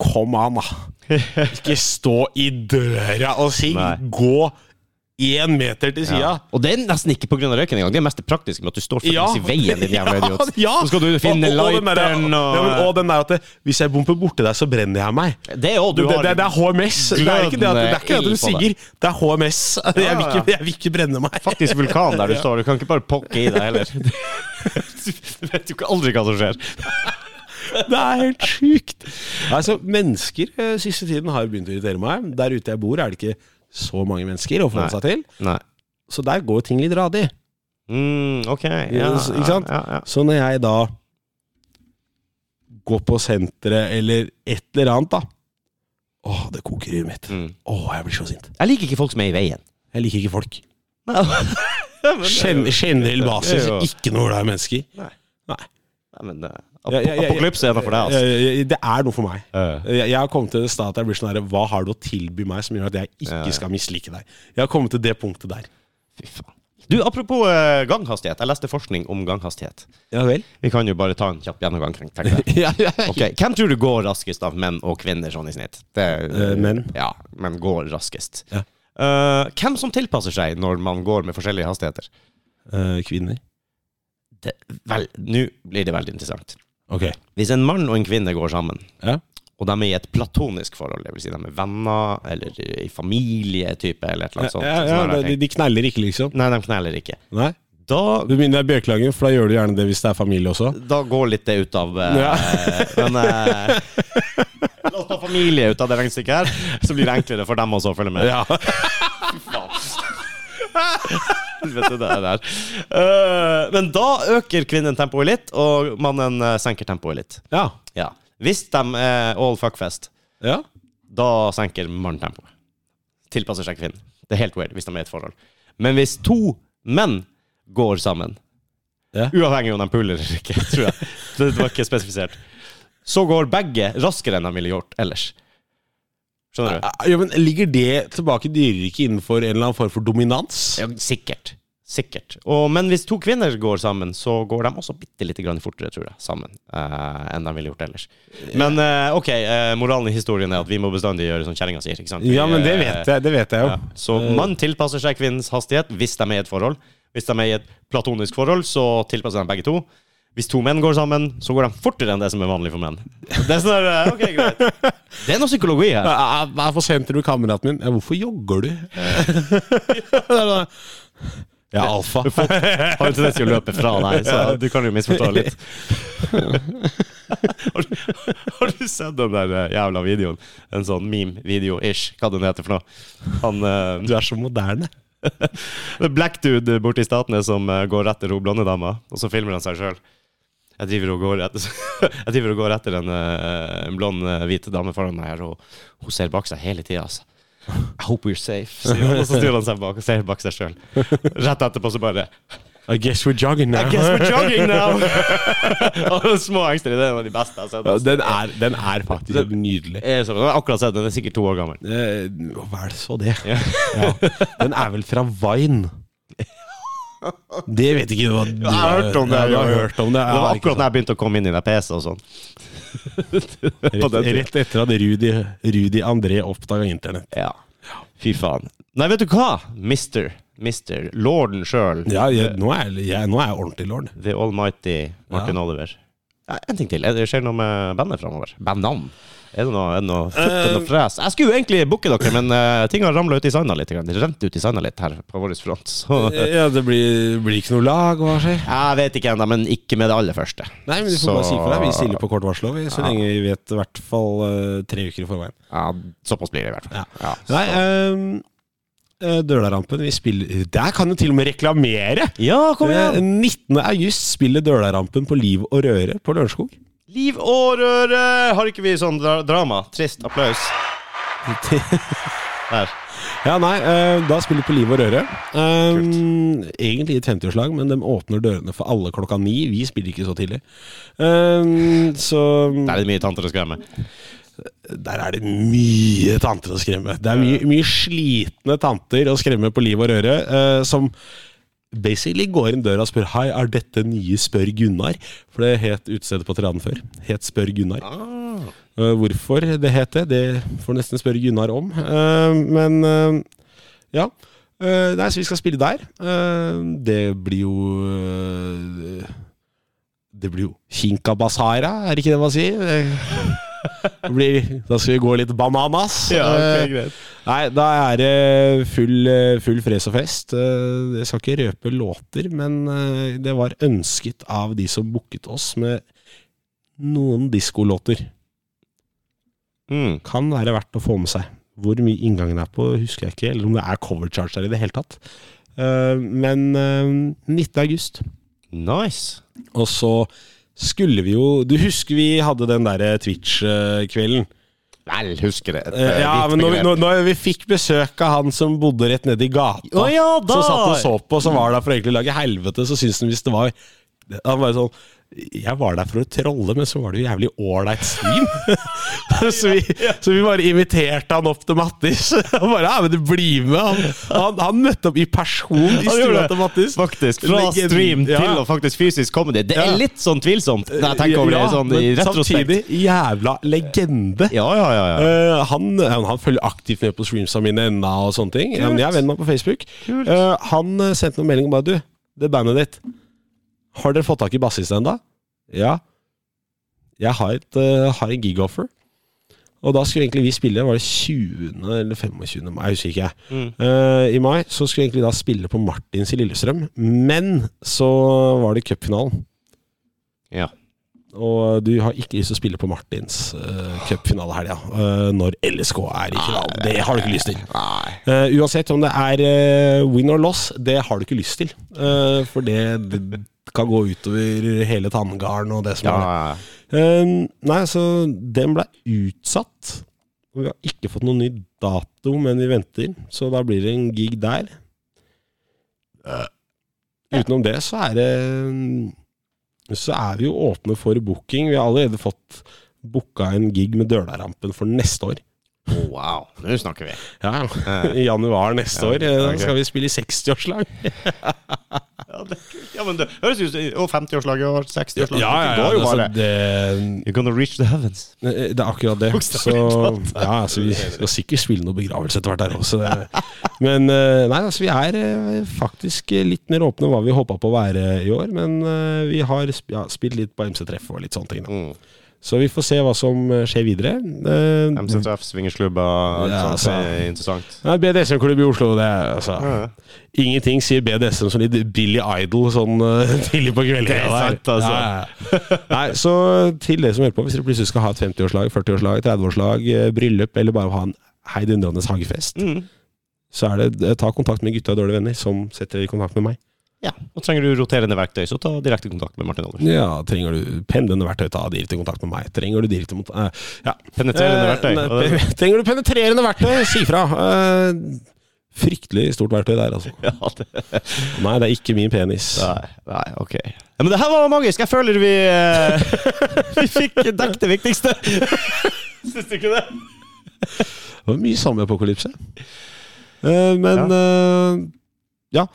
Kom an, da.
(laughs)
Ikke stå i døra og sigg.
Nei.
Gå én meter til
Ja.
sida.
Og det er nesten ikke pga. røyken engang. Det er mest det praktiske med at du står faktisk i veien, din jævla idiot.
(laughs) Ja,
Så skal du finne
Og- og- og den der-
lighteren og,
ja, men, og den der at det, Hvis jeg bomper borti deg, så brenner jeg meg.
Det òg. Du
det,
har
det, det er HMS. Det er ikke det at, det er ikke det at du
glødende ild på
sigger, det er HMS. Jeg vil ikke, jeg vil ikke brenne meg.
faktisk vulkan
(laughs)
der du står. Du kan ikke bare pokke i deg heller. Du vet jo ikke aldri hva som skjer.
Det er helt sjukt. Altså, mennesker eh, siste tiden har begynt å irritere meg. Der ute jeg bor, er det ikke så mange mennesker å
Nei.
forholde seg til.
Nei.
Så der går ting litt radig.
Mm, ok. Ja,
Yes, ikke sant?
Ja, ja.
Så når jeg da går på senteret eller et eller annet, da Åh, det koker i huet mitt.
Mm.
Åh, jeg blir så sint.
Jeg liker ikke folk som er i
(laughs)
veien.
Jeg liker ikke folk.
Nei,
Gen generell basis,
Det er jo-
ikke noe glad i mennesker.
Nei.
Nei.
men eh,
Ja, ja, ja, ja.
Apokalypse er noe for deg, altså.
Jeg- jeg- eh, Det er noe for meg.
Eh,
Jeg, jeg har kommet til det stedet at jeg blir sånn her Hva har du å tilby meg som gjør at jeg ikke
Ja, ja.
skal mislike deg? Jeg har kommet til det punktet der.
Fy faen. Du, apropos eh, ganghastighet. Jeg leste forskning om ganghastighet.
Ja
(laughs)
vel?
Vi kan jo bare ta en kjapp gjennomgang. tenker
(laughs)
jeg.
ja, ja, ja.
Ok, Hvem tror du går raskest av menn og kvinner sånn i snitt? Det,
Eh, menn.
Ja, men går raskest.
Ja.
Eh, hvem som tilpasser seg når man går med forskjellige hastigheter?
Eh, kvinner.
Det, vel, nå blir det veldig interessant.
Ok.
Hvis en mann og en kvinne går sammen,
Ja.
og de er i et platonisk forhold, det vil si de er venner, eller i familietype, eller et eller
Ja,
annet sånt
ja,
sånne her
de,
ting.
de kneller ikke, liksom.
Nei, de kneller ikke.
Nei.
Da,
Du begynner deg Bjørklangen, for da gjør du gjerne det hvis det er familie også.
da går litt det ut av eh,
Ja.
(laughs) Men eh, la oss ta familie ut av det regnestykket her, så blir det enklere for dem også å følge med.
Ja.
Faen. helvete det er der. Eh, men da øker kvinnen tempoet litt, og mannen eh, senker tempoet litt.
(laughs) Ja.
Ja. Hvis de er all fuckfest,
ja.
da senker mannen tempoet. Tilpasser seg kvinnen. Det er helt weird hvis de er i et forhold. Men hvis to menn går sammen,
Ja.
uavhengig om de puler eller ikke, (laughs) tror jeg, det var ikke spesifisert, så går begge raskere enn de ville gjort ellers. Skjønner du?
Ja, men Ligger det tilbake i dyreriket innenfor en eller annen form for dominans?
Ja, sikkert. Sikkert. Og, men hvis to kvinner går sammen, så går de også bitte lite grann fortere, tror jeg, sammen eh, enn de ville gjort ellers. Men eh, ok, eh, moralen i historien er at vi må bestandig gjøre som kjerringa sier. ikke sant? Vi,
Ja, men det
eh,
vet jeg, det vet jeg jo.
Ja. Så man tilpasser seg kvinnens hastighet hvis de er i et forhold. Hvis de er i et platonisk forhold, så tilpasser de begge to. Hvis to menn går sammen, så går de fortere enn det som er vanlig for menn. Det er sånn der, eh, ok, greit. (laughs) Det er noe psykologi her.
Jeg jeg er for sent til du, kameraten min. Ja, Hvorfor jogger du? (laughs) Jeg er alfa.
Folk har jo tendens til å løpe fra deg, så du kan jo misforstå (laughs) litt. Har, du- har du sett den der eh, jævla videoen? En sånn meme-video-ish, hva den heter for noe? Han eh,
Du er så moderne.
(laughs) Det er Black dude borte i statene som eh, går etter hun blonde dama, og så filmer han seg sjøl. Jeg driver og går etter, (laughs) jeg driver og går etter en, eh, en blond, eh, hvit dame foran meg her, og hun ser bak seg hele tida, altså. I hope we're safe, sier han, og så snur han seg bak og ser bak seg sjøl. Rett etterpå så bare
I guess we're jogging now.
I guess
(laughs)
we're jogging now! (laughs) og de små engster, det er en av de beste jeg har sett.
Ja,
altså.
den, er, den er faktisk helt nydelig.
Jeg er sånn, Jeg har akkurat sett den, den er sikkert to år gammel.
Eh, Hva er det så det? (laughs) Ja. Den er vel fra Vine. Det vet ikke du hva du
Jeg har hørt om det.
Ja, du har hørt om det.
Det var
Jeg har
akkurat da jeg begynte å komme inn i den PC og sånn. (laughs)
ikke-
den tiden.
Rett, rett etter at Rudi, Rudi André oppdaga internett.
Ja. Fy faen. Nei, vet du hva? Mister. Mister. Lorden sjøl.
Ja, jeg, nå, er jeg, jeg, nå er jeg ordentlig lord.
The almighty Martin Oliver. Ja, en ting til. Er det- Skjer det noe med bandet framover? Bandnavn? Er det noe, er det noe, futt, er det
Eh.
noe fres? Jeg skulle jo egentlig booke dere, men eh, ting har ramla ut i sanda litt. grann. Det rente ut i sanda litt her på vår front. Så
Ja, det blir, blir ikke noe lag, hva skjer?
jeg vet ikke ennå, men ikke med det aller første.
Nei, men du får
Så-
bare si fra. Vi stiller på kort varsel, vi, så lenge vi vet i hvert fall eh, tre uker i forveien.
Ja, såpass blir det i hvert fall.
Ja.
Ja.
Nei, ehm, eh, Dølarampen, vi spiller Der kan du til og med reklamere!
Ja, kom
Eh,
igjen!
19. august spiller Dølarampen på Liv og Røre
(laughs)
på Lørenskog.
Liv og røre! Har ikke vi sånn dra drama? Trist applaus. Der.
Ja, nei, eh, da spiller de på Liv og Røre. Ehm, egentlig i et 50-årslag, men de åpner dørene for alle klokka ni. Vi spiller ikke så tidlig. Ehm, så
Der er det mye tanter å skremme.
der er det mye tanter å skremme. Det er mye, mye slitne tanter å skremme på Liv og Røre, eh, som basically går inn døra og spør Hei, er dette nye Spør Gunnar? For det het utestedet på Tranen før. Het Spør Gunnar. Eh, Hvorfor det het det, det får nesten spørre Gunnar om. Eh, Men eh, ja. Eh, Nei, så vi skal spille der. Eh, Det blir jo eh, Det blir jo Kinkabasara, er det ikke det man sier? Eh, Det blir, da skal vi gå litt bananas. Eh,
greit.
Nei, da er det full, full fres og fest. Eh, Jeg skal ikke røpe låter, men eh, det var ønsket av de som booket oss med noen diskolåter.
Mm.
Kan være verdt å få med seg. Hvor mye inngangen er på, husker jeg ikke, eller om det er cover charge der i det hele tatt. Eh, Men eh, 19. august.
Nice.
Og så skulle vi jo Du husker vi hadde den derre Twitch-kvelden? Eh,
Vel, husker det. Et, eh,
Ja,
vidt
men når vi,
begrep.
når, når vi fikk besøk av han som bodde rett nede i gata,
Å ja, da!
som satt og så på, som var der for egentlig å lage helvete, så syntes han hvis det var Han var jo sånn jeg var der for å trolle, men så var det jo jævlig ålreit svin. (laughs) så, vi, så vi bare inviterte han opp til Mattis. (laughs) Han bare, ja, men du blir med Han, han, han møtte opp i person i
Han gjorde
stua
det.
til Mattis.
Faktisk, Fra
Legend-
stream
Ja.
til å faktisk fysisk komme dit. Det er
Ja.
litt sånn tvilsomt når jeg tenker over det
Ja,
sånn, i
men
retrospekt.
Samtidig, jævla legende.
Ja, ja, ja. ja.
Eh, han, han, han følger aktivt med på streamsa mine ennå og sånne ting. Ja, men jeg er venn med ham på Facebook. Eh, han eh, sendte noen meldinger og bare Du, det bandet ditt. Har dere fått tak i bassist ennå? Ja. Jeg har, et, eh, har en gigoffer. Og da skulle egentlig vi spille, var det 20. eller 25. mai, jeg husker ikke. jeg.
Mm.
Eh, I mai så skulle vi egentlig da spille på Martins i Lillestrøm, men så var det cupfinalen.
ja.
Og du har ikke lyst til å spille på Martins uh, cupfinalehelga uh, når LSK er i finalen. Det har du ikke lyst til.
Ah, Nei.
Eh, uansett om det er eh, win or loss, det har du ikke lyst til. Eh, for det, det kan gå utover hele tanngarden og det som
Ja,
er. Eh, nei, så den ble utsatt. Og vi har ikke fått noen ny dato, men vi venter. Så da blir det en gig der. Eh, utenom det så er det Så er vi jo åpne for booking. Vi har allerede fått booka en gig med Dølarampen for neste år.
Oh, wow. Nå snakker vi.
Ja, Eh. ja. I januar neste år. eh,
ok.
Da skal vi spille i 60-årslag.
Ja, det, ja men det høres ut som Og 50-årslaget og 60-årslaget.
Det,
Det går jo
altså,
bare
det,
You're gonna reach the heavens.
det er akkurat det. Så,
Bokstavelig talt.
ja, altså, vi skal sikkert spille noe begravelse etter hvert her også. det- Men eh, nei, altså, vi er eh, faktisk eh, litt mer åpne enn hva vi håpa på å være i år. Men eh, vi har sp ja, spilt litt på MC-treff og litt sånne ting. Da.
Mm.
Så vi får se hva som eh, skjer videre. Eh,
MCTF, swingersklubber, alt
Ja,
sånt.
altså.
Det er interessant.
Nei, BDSM-klubb i Oslo, det er altså Ingenting sier BDSM som litt Billy Idol sånn eh, (laughs) tidlig på kvelden.
Det er sant, altså.
Ja, ja. (laughs) Nei, så til dere som hører på, hvis dere plutselig skal ha et 50-årslag, 40-årslag, 30-årslag, eh, bryllup, eller bare ha en heidundrende hagefest,
Mm.
så er det eh, ta kontakt med gutta og dårlige venner, som setter dere i kontakt med meg.
Ja. Og trenger du roterende verktøy, så ta direkte kontakt med Martin Oldersen.
Ja, trenger du pendlende verktøy, ta direkte kontakt med meg. Trenger du direkte mot eh, Ja.
Penetrerende
Eh,
verktøy.
nei, (laughs)
og det-
pe- trenger du penetrerende verktøy, si fra! Eh, fryktelig stort verktøy der, altså.
(laughs) Ja, det.
Nei, det er ikke min penis.
Nei, nei, ok. Ja, men det her var magisk. Jeg føler vi eh, (laughs) Vi fikk dekket det (laughs) viktigste. Syns du ikke det?
Det var mye samme apokalypse. Eh, men ja. ja.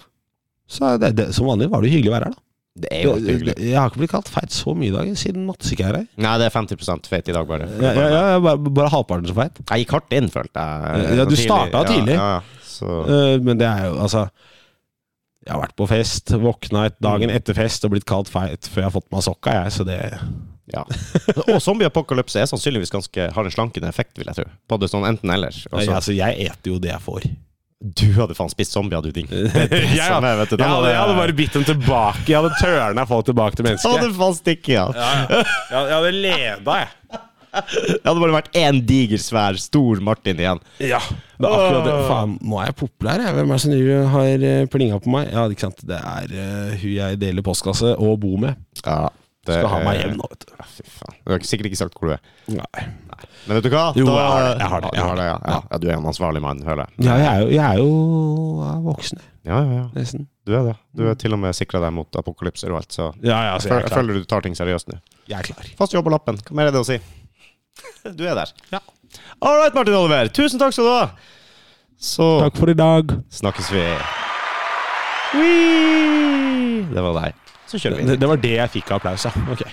Så er det, det, som vanlig var det jo hyggelig å være her, da.
Det er
Det, det, jeg har ikke blitt kalt feit så mye i dag, siden Mats ikke er her.
Nei, det er 50 feit i dag, bare.
Ja, ja, ja, jeg er bare, bare halvparten så feit.
Jeg gikk hardt inn, følte jeg.
Ja, du
Tidlig.
starta tidlig.
Ja, ja. Så
Eh, men det er jo, altså Jeg har vært på fest, våkna et dagen etter fest og blitt kalt feit før jeg har fått meg sokka, jeg, så det
Ja. Og zombie-apokalypse er sannsynligvis ganske har en slankende effekt, vil jeg tro. Både sånn enten-eller.
Nei,
Altså,
Altså, jeg eter jo det jeg får. Sånn,
Du hadde faen spist zombier,
(laughs)
du, ding. Det er det
Jeg,
som er, vet du. Da må det-
bitt dem tilbake. Jeg hadde tørna folk tilbake (laughs) til
Da hadde faen stikket, ja.
Jeg hadde leda, jeg.
Det hadde bare vært én diger, svær, stor Martin igjen.
Ja, det er akkurat det. Faen, nå er jeg populær, jeg. Hvem er det som driver og har eh, plinga på meg? Ja, ikke sant. Det er eh, hun jeg deler postkasse og bor med.
Ja, det
Skal ha meg
er-
hjem nå, vet du.
Ja, Fy faen. Du har ikke- sikkert ikke sagt hvor du er.
Nei.
Men vet du hva?
Jo, jeg har det, jeg har det, jeg
Ja, du
har det,
ja. Ja. ja, du er en ansvarlig mann, føler jeg.
Ja, jeg er jo, jeg er jo jeg er voksen, jeg,
Ja, ja, ja.
nesten.
Du er det. Du er til og med sikra deg mot apokalypser og alt, så
Ja, ja,
jeg føler du tar ting seriøst nå.
Jeg er klar.
Fast jobb på lappen. Hva mer er det å si? (laughs) Du er der. Ja. All right, Martin Oliver. Tusen takk skal du ha. Så
Takk for i dag.
snakkes vi. Whee! Det var deg. Så kjører vi.
Det, det var det jeg fikk av applaus, ja. Ok.